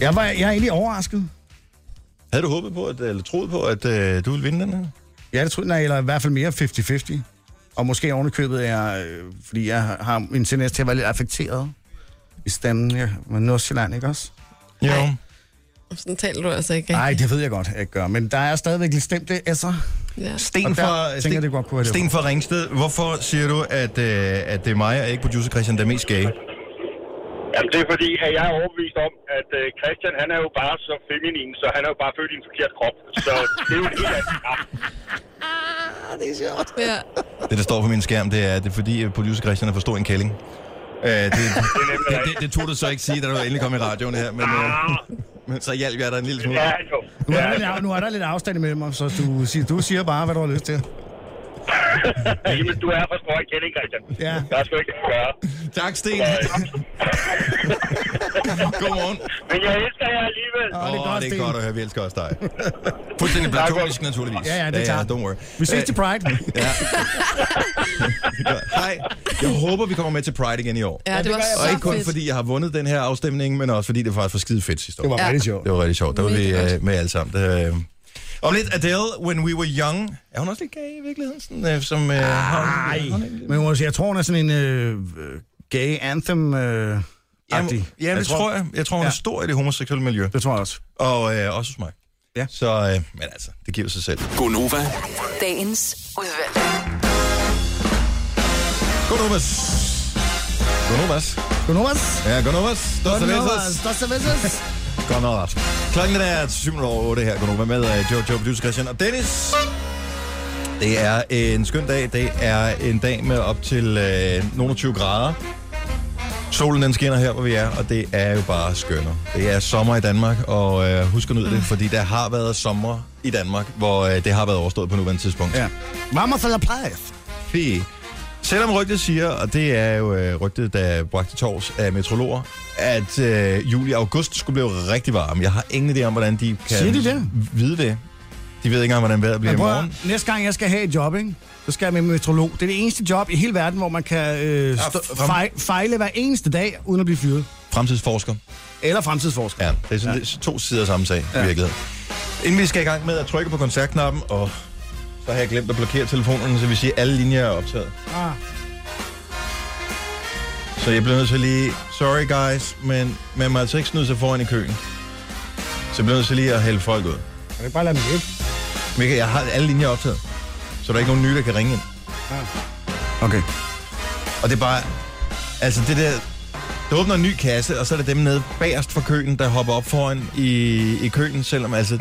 B: Jeg, var, jeg er egentlig overrasket.
A: Havde du håbet på, at, eller troet på, at øh, du ville vinde den her?
B: Ja, det tror jeg, nej, eller i hvert fald mere 50-50. Og måske ovenikøbet er, øh, fordi jeg har- har en tendens til at være lidt affekteret i stemmen ja, med Nordsjælland, ikke også?
A: Jo.
D: Sådan taler du altså ikke.
B: Nej, det ved jeg godt, jeg ikke gør, men der er stadigvæk lidt stemte S'er.
D: Ja.
A: Sten
B: Og der
A: fra,
B: tænker
A: øh, Sten,
B: jeg, det godt kunne være det.
A: Sten fra Ringsted, hvorfor siger du, at, øh, at det er mig og ikke producer Christian, der er mest gay?
I: Jamen, det er fordi, at jeg er overbevist om, at øh, Christian, han er jo bare så feminin, så han er jo bare født i en forkert krop. Så det er jo en helt anden kamp.
D: Ja.
A: Det, der står på min skærm, det er, at det er fordi, at producer Christian er for stor en kælling. Øh, det, det, det, det, det tog du så ikke sige, da du endelig kom i radioen her, men,
I: Ah,
A: øh, men så hjalp jeg dig en lille smule.
I: Ja, jo.
B: Nu
I: Ja, altså.
B: er, der lidt, af- nu er der lidt afstand imellem os, så du siger, du siger bare, hvad du har lyst til.
I: jamen, du er for stor en kælling, Christian.
B: Ja.
I: Der er sgu ikke noget at gøre.
A: Tak, Sten.
I: Nej.
A: Godmorgen.
I: Men jeg elsker jer alligevel.
B: Åh,
A: Åh, oh, det er
B: Sten.
A: godt at høre. Vi elsker også dig. Fuldstændig platonisk, naturligvis.
B: Ja, ja, det er klart.
A: don't worry.
B: Vi ses til
A: Øh,
B: Pride.
A: Ja. Det er godt. Hej. Jeg håber, vi kommer med til Pride igen i år.
D: ja, det var så
A: Og ikke kun
D: fedt.
A: fordi jeg har vundet den her afstemning, men også fordi det faktisk var skide fedt sidste år.
B: Det var
D: Ja.
B: rigtig sjovt.
A: det var rigtig sjovt. Der var vi øh, med alle sammen. Det, øh. Om lidt Adele, When We Were Young. Er hun også lidt gay i virkeligheden? Sådan, øh, som, øh,
B: Ah,
A: Nej.
B: Men jeg må sige, jeg tror, hun er sådan en øh, gay anthem øh, jamen,
A: Jamen, jamen, det tror jeg. Jeg tror, hun er
B: Ja.
A: stor i det homoseksuelle miljø.
B: Det tror jeg også.
A: Og øh, også hos mig.
B: Ja.
A: Så, øh, men altså, det giver sig selv.
F: Gonova,
E: Dagens udvalgte.
A: Godnovas. Godnovas.
B: Godnovas.
A: Ja, godnovas. Godnovas.
B: Dostoyevsky.
A: Godnovas. Klokken den er 7 over 8 her. Godnova med øh, Jojo, producer Christian og Dennis. Det er en skøn dag. Det er en dag med op til øh, nogle 20 grader. Solen den skinner her, hvor vi er, og det er jo bare skønner. Det er sommer i Danmark, og øh, husk at nyde det, fordi der har været sommer i Danmark, hvor øh, det har været overstået på nuværende tidspunkt.
B: Ja. Mamma for la plejef.
A: Fy. Selvom rygtet siger, og det er jo øh, rygtet, der bragte tors af metrologer, at øh, juli og august skulle blive rigtig varme. Jeg har ingen idé om, hvordan de kan
B: Siger de det?
A: vide det. De ved ikke engang, hvordan vejret bliver
B: Men
A: i
B: prøv at-
A: morgen.
B: næste gang jeg skal have et job, ikke? så skal jeg med metrolog. Det er det eneste job i hele verden, hvor man kan øh, stå,
A: frem-
B: fej, fejle hver eneste dag, uden at blive fyret.
A: Fremtidsforsker.
B: Eller fremtidsforsker.
A: Ja, det er sådan ja. to sider af samme sag ja. i virkeligheden. Inden vi skal i gang med at trykke på koncertknappen, og så har jeg glemt at blokere telefonerne, så vi siger, at alle linjer er optaget.
B: Ah.
A: Så jeg bliver nødt til lige, sorry guys, men man må altså ikke snyde sig foran i køen. Så jeg bliver nødt til lige at hælde folk ud.
B: Kan du ikke bare lade mig lidt?
A: Mika, jeg har alle linjer optaget, så der er ikke nogen nye, der kan ringe ind.
B: Okay.
A: Og det er bare, altså det der, der åbner en ny kasse, og så er det dem nede bagerst for køen, der hopper op foran i, i køen, selvom altså,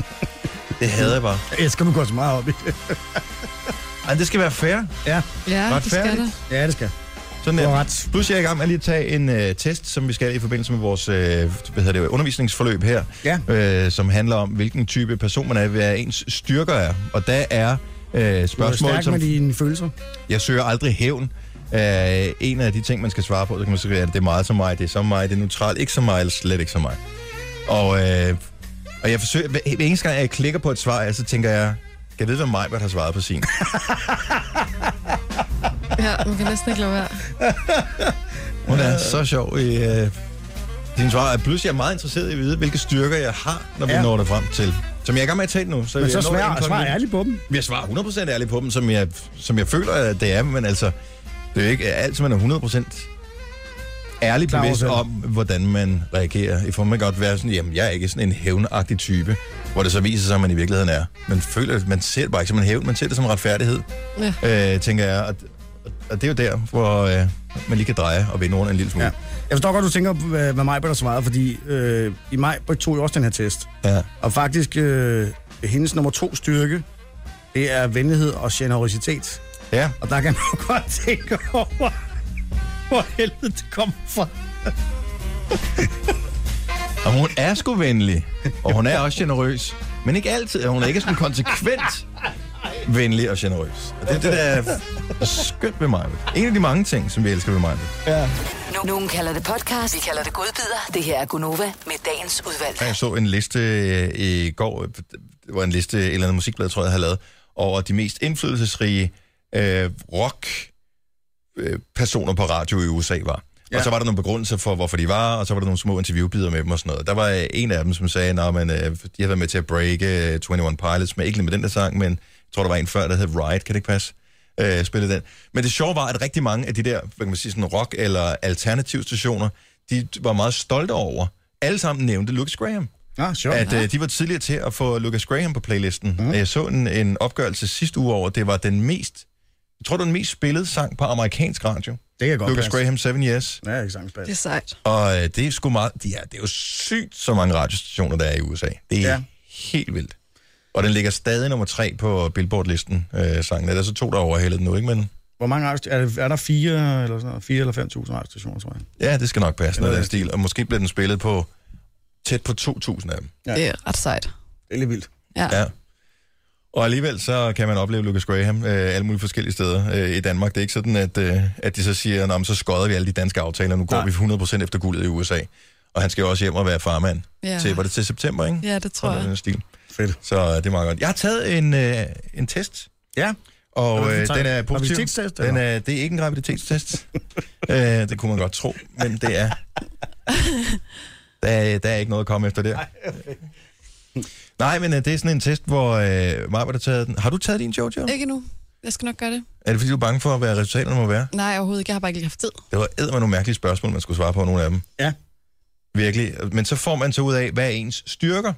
A: det hader jeg bare.
B: Jeg skal man gå så meget op i det.
A: Men det skal være fair.
B: Ja,
D: Ja, det skal der.
A: Retfærdigt.
B: ja det skal.
A: Sådan
B: Du har
A: der.
B: ret.
A: Plus jeg er i gang med lige at tage en øh, test, som vi skal i forbindelse med vores øh, hvad hedder det, undervisningsforløb her, øh, som handler om, hvilken type person man er, hvad ens styrker er. Og der er øh,
B: Du er
A: spørgsmål,
B: stærk
A: som
B: med dine følelser.
A: jeg søger aldrig hævn. Øh, en af de ting, man skal svare på, så kan man sige, at det er meget som mig, det er som mig, det er neutralt, ikke som mig, eller slet ikke som mig. Og, øh, og jeg forsøger, hver hver eneste gang, jeg klikker på et svar, jeg, så tænker jeg, kan jeg vide, hvad mig, har svaret på sin?
D: Ja, man kan næsten ikke lade være.
A: Hun er så sjov i øh, din svar. Og Pludselig er jeg meget interesseret i at vide, hvilke styrker jeg har, når vi
B: Ja.
A: når det frem til. Som jeg er i gang med at tale nu. Så
B: Men
A: jeg
B: så
A: når
B: svær,
A: inden for en
B: svær
A: minut.
B: ærligt på dem.
A: Men Jeg svarer 100% ærligt på dem, som jeg, som jeg føler, at det er. Men altså, det er jo ikke alt, som man er 100% ærlig
B: Klar over
A: bevidst
B: selv.
A: om, hvordan man reagerer. I får man godt være sådan, jamen jeg er ikke sådan en hævnagtig type, hvor det så viser sig, at man i virkeligheden er. Man føler, at man ser det bare ikke som en hævn, man ser det som retfærdighed, ja. øh, tænker jeg. Og, og det er jo der, hvor øh, man lige kan dreje og vende rundt en lille smule.
B: Ja. Jeg forstår godt, du tænker, på, hvad, hvad Majbert har svaret, fordi øh, i maj tog jeg også den her test.
A: Ja.
B: Og faktisk, øh, hendes nummer to styrke, det er venlighed og generositet.
A: Ja.
B: Og der kan man jo godt tænke over, hvor helvede det kommer fra.
A: Og hun er sgu venlig, og hun er også generøs. Men ikke altid, og hun er ikke sådan konsekvent venlig og generøs. Og det er det, der er skønt ved mig. En af de mange ting, som vi elsker ved mig.
E: Nu- Nogen kalder det podcast, vi kalder det godbider. Det her er Gunova med dagens udvalgte.
A: Jeg så en liste øh, i går, øh, det var en liste, et eller andet musikblad, tror jeg, havde lavet, over de mest indflydelsesrige øh, rock øh, personer på radio i USA var. Ja. Og så var der nogle begrundelser for, hvorfor de var, og så var der nogle små interviewbider med dem og sådan noget. Der var øh, en af dem, som sagde, at øh, de havde været med til at breake øh, 21 Pilots, men ikke lige med den der sang, men jeg tror, der var en før, der hed Riot, kan det ikke passe? Øh, spillede den. Men det sjove var, at rigtig mange af de der, hvad kan man sige, sådan rock- eller alternativstationer, de var meget stolte over. Alle sammen nævnte Lucas Graham
B: Ja, sjovt.
A: at øh, de var tidligere til at få Lucas Graham på playlisten. Mm. Jeg så en, en opgørelse sidste uge over, at det var den mest, jeg tror, det var den mest spillede sang på amerikansk radio.
B: det kan godt
A: Lucas
B: passe.
A: Graham, Seven Years.
B: Ja, ikke sangspas.
D: Det er sejt.
A: Og øh, det er sgu meget, ja, det er jo sygt, så mange radiostationer, der er i USA. Det er ja.
B: Ja.
A: helt vildt. Og den ligger stadig nummer tre på Billboard-listen, øh, sangen. Der er så to, der overhældet den nu, ikke? Men
B: Hvor mange radio- er, der- er der fire eller sådan noget? Fire eller 5.000 radiostationer, tror jeg.
A: ja, det skal nok passe, noget af
B: Eller-
A: den stil. Og måske bliver den spillet på tæt på 2.000 af dem.
B: Ja.
D: Det er ret sejt.
B: Det er lidt vildt.
A: Ja. Og alligevel så kan man opleve Lucas Graham øh, alle mulige forskellige steder øh, i Danmark. Det er ikke sådan, at, øh, at de så siger, "Nå, men så skodder vi alle de danske aftaler, nu går
B: Nej.
A: vi 100% efter guldet i USA. Og han skal jo også hjem og være farmand.
D: Ja.
A: Til, var det til september, ikke?
D: Ja, det tror
A: Sådan
D: jeg.
A: en stil.
B: Fedt.
A: Så øh, det er meget godt. Jeg har taget en, øh, en test,
B: Ja. Hvad
A: og
B: er det
A: øh,
B: for
A: den er
B: tegn?
A: positiv.
B: Graviditetstest,
A: Den er, det er ikke en graviditetstest. øh, det kunne man godt tro, men det er... Der, er- der er ikke noget at komme efter der. Nej, men øh, det er sådan en test, hvor øh, Maja har taget den. Har du taget din, Jojo?
D: Ikke nu. Jeg skal nok gøre det.
A: Er det fordi, du er bange for, hvad resultaterne må være?
D: Nej, overhovedet ikke. Jeg har bare ikke lige haft tid.
A: Det var æd med nogle mærkelige spørgsmål, man skulle svare på nogle af dem.
B: Ja.
A: Virkelig. Men så får man så ud af, hvad er ens styrker?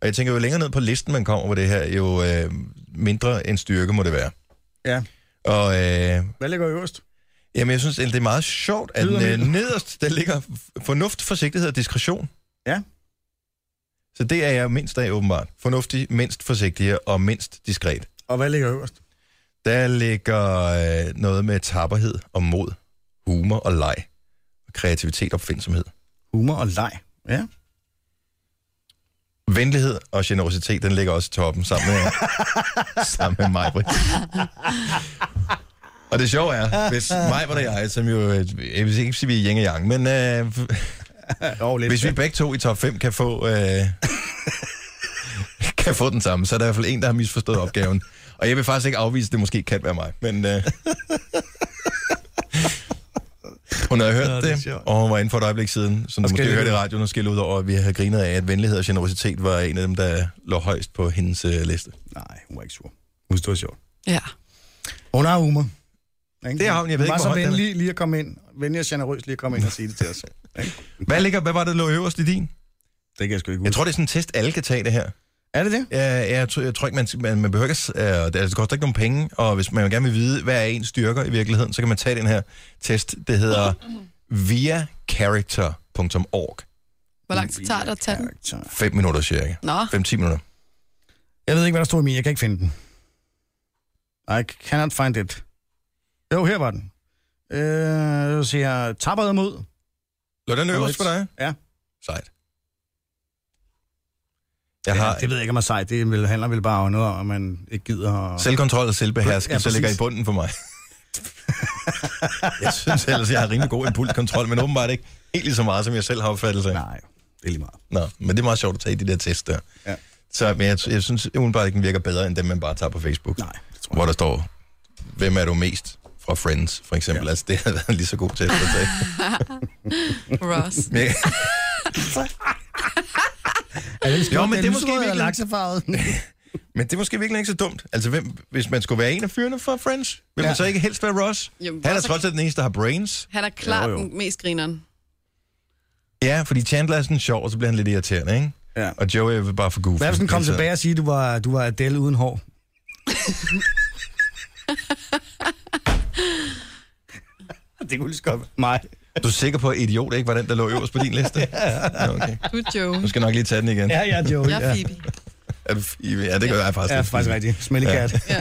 A: Og jeg tænker, jo længere ned på listen man kommer på det her, jo øh, mindre en styrke må det være.
B: Ja.
A: Og øh,
B: Hvad ligger øverst?
A: jamen, jeg synes, det er meget sjovt, at
B: Lyder
A: øh,
B: mildt.
A: nederst, der ligger fornuft, forsigtighed og diskretion.
B: Ja.
A: Så det er jeg mindst af, åbenbart. Fornuftig, mindst forsigtig og mindst diskret.
B: Og hvad ligger øverst?
A: Der ligger øh, noget med tapperhed og mod, humor og leg. kreativitet, opfindsomhed.
B: Humor og leg. Ja.
A: Venlighed og generositet, den ligger også i toppen sammen med, sammen med mig, Britt. Og det sjove er, hvis mig var det jeg, som jo, øh, jeg vil ikke sige, vi er yin og yang, men øh,
B: Jo, lidt.
A: hvis vi begge to i top 5 kan få, øh, kan få den samme, så er der i hvert fald en, der har misforstået opgaven. Og jeg vil faktisk ikke afvise, at det måske kan være mig, men øh, hun havde hørt
B: Nå,
A: det,
B: det er
A: det
B: sjovt.
A: og hun var inde for et øjeblik siden, så du måske
B: skældte
A: hørte i
B: ud.
A: radioen og skældte ud over, at vi havde grinet af, at venlighed og generositet var en af dem, der lå højst på hendes øh, liste.
B: Nej, hun var ikke sur. Hun stod sjovt.
D: Ja.
B: Hun har humor. Ikke?
A: Det har hun. Jeg ved ikke,
B: var
A: hvor
B: så
A: høj den er.
B: venlig lige at komme ind. Venlig og generøs lige at komme ind og sige det til os. Ikke?
A: Hvad, ligger, hvad var det, der lå øverst i din?
B: Det kan jeg sgu ikke
A: Jeg
B: huske.
A: tror, det er sådan en test, alle kan tage det her.
B: Er det det?
A: Ja, jeg, tror, jeg tror ikke, man, man, man behøver ikke... at- Øh, det, altså, det koster ikke nogen penge, og hvis man gerne vil vide, hvad er ens styrker i virkeligheden, så kan man tage den her test. Det hedder viacharacter.org.
D: Hvor lang tid tager det at tage den?
B: Karakter.
A: 5 minutter cirka.
D: Nå,
A: 5-10 minutter.
B: Jeg ved ikke, hvad der stod i min. Jeg kan ikke finde den. I cannot find it. Jo, her var den. Øh, så siger jeg, tapper mod.
A: Lå den øverst for dig?
B: Ja.
A: Sejt. Jeg har
B: ja, det ved jeg ikke, om jeg er sejt. Det vel- handler vel bare om noget, om at man ikke gider at...
A: selvkontrol og selvbeherskelse,
B: Ja,
A: ja, så ligger i
B: præcis.
A: bunden for mig. jeg synes ellers, jeg har rimelig god impulskontrol, men åbenbart ikke helt lige så meget, som jeg selv har opfattelse af.
B: Nej, det er lige meget.
A: Nå, men det er meget sjovt at tage i de der tests der.
B: Ja.
A: Så men jeg, jeg synes umiddelbart ikke, den virker bedre, end dem, man bare tager på Facebook.
B: Nej, det tror jeg
A: Hvor der står, hvem er du mest fra Friends, for eksempel. Ja. Altså, det havde været lige så god til at tage.
D: Ross.
A: Men,
B: Er det
A: Jo, men det er måske virkelig-
B: laksefarvet.
A: men det er måske virkelig ikke så dumt. Altså, hvem, hvis man skulle være en af fyrene fra Friends, vil ja.
B: Ja.
A: man så ikke helst være Ross?
D: Jamen,
A: Han er
D: Ross er-
A: trods alt den eneste, der har brains.
D: Han er klart
B: Jo, jo.
D: den mest grineren.
A: Ja, fordi Chandler er sådan sjov, og så bliver han lidt irriterende, ikke?
B: Ja.
A: Og Joey er bare for goofy. Altså,
B: Hvad hvis den kom
A: hele tiden.
B: tilbage og sige, at du var, du var Adele uden hår? det kunne lige så godt være mig.
A: Du er sikker på, at idiot ikke var den, der lå øverst på din liste? ja. Okay.
D: Du er Joe.
A: Nu skal jeg nok lige tage den igen.
B: Ja,
A: Ja,
B: ja, Joey.
D: Jeg er
B: Ja,
D: Phoebe.
A: er du, ja det gør jeg faktisk.
B: ja
A: lidt.
B: faktisk rigtigt. Smellekat. Ja.
D: Ja.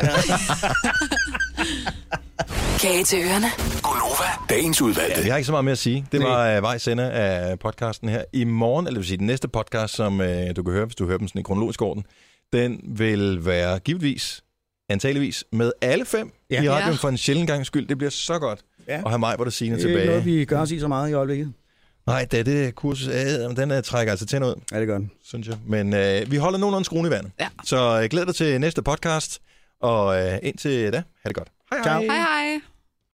E: Kage til ørerne.
F: Gunova, dagens udvalgte.
A: Ja, jeg har ikke så meget mere at sige. Det var øh, vejs ende af podcasten her. I morgen, eller det vil sige den næste podcast, som øh, du kan høre, hvis du hører dem sådan i kronologisk orden, den vil være givetvis, antageligvis, med alle fem ja.
B: Ja.
A: i radioen
D: Ja.
A: for en sjældent gang skyld. Det bliver så godt ja.
B: Ja.
A: at have mig, hvor der siger
B: Det er
A: tilbage.
B: ikke noget, vi gør os i så meget i øjeblikket.
A: Nej, det er det kursus. Øh, den øh, trækker altså tænder ud,
B: Ja, det gør den.
A: synes jeg. Men øh, vi holder nogenlunde skruen i vandet.
D: Ja.
A: Så øh, glæder dig til næste podcast, og øh, indtil da, ha' det godt. Hej hej.
B: Ciao.
D: Hej hej.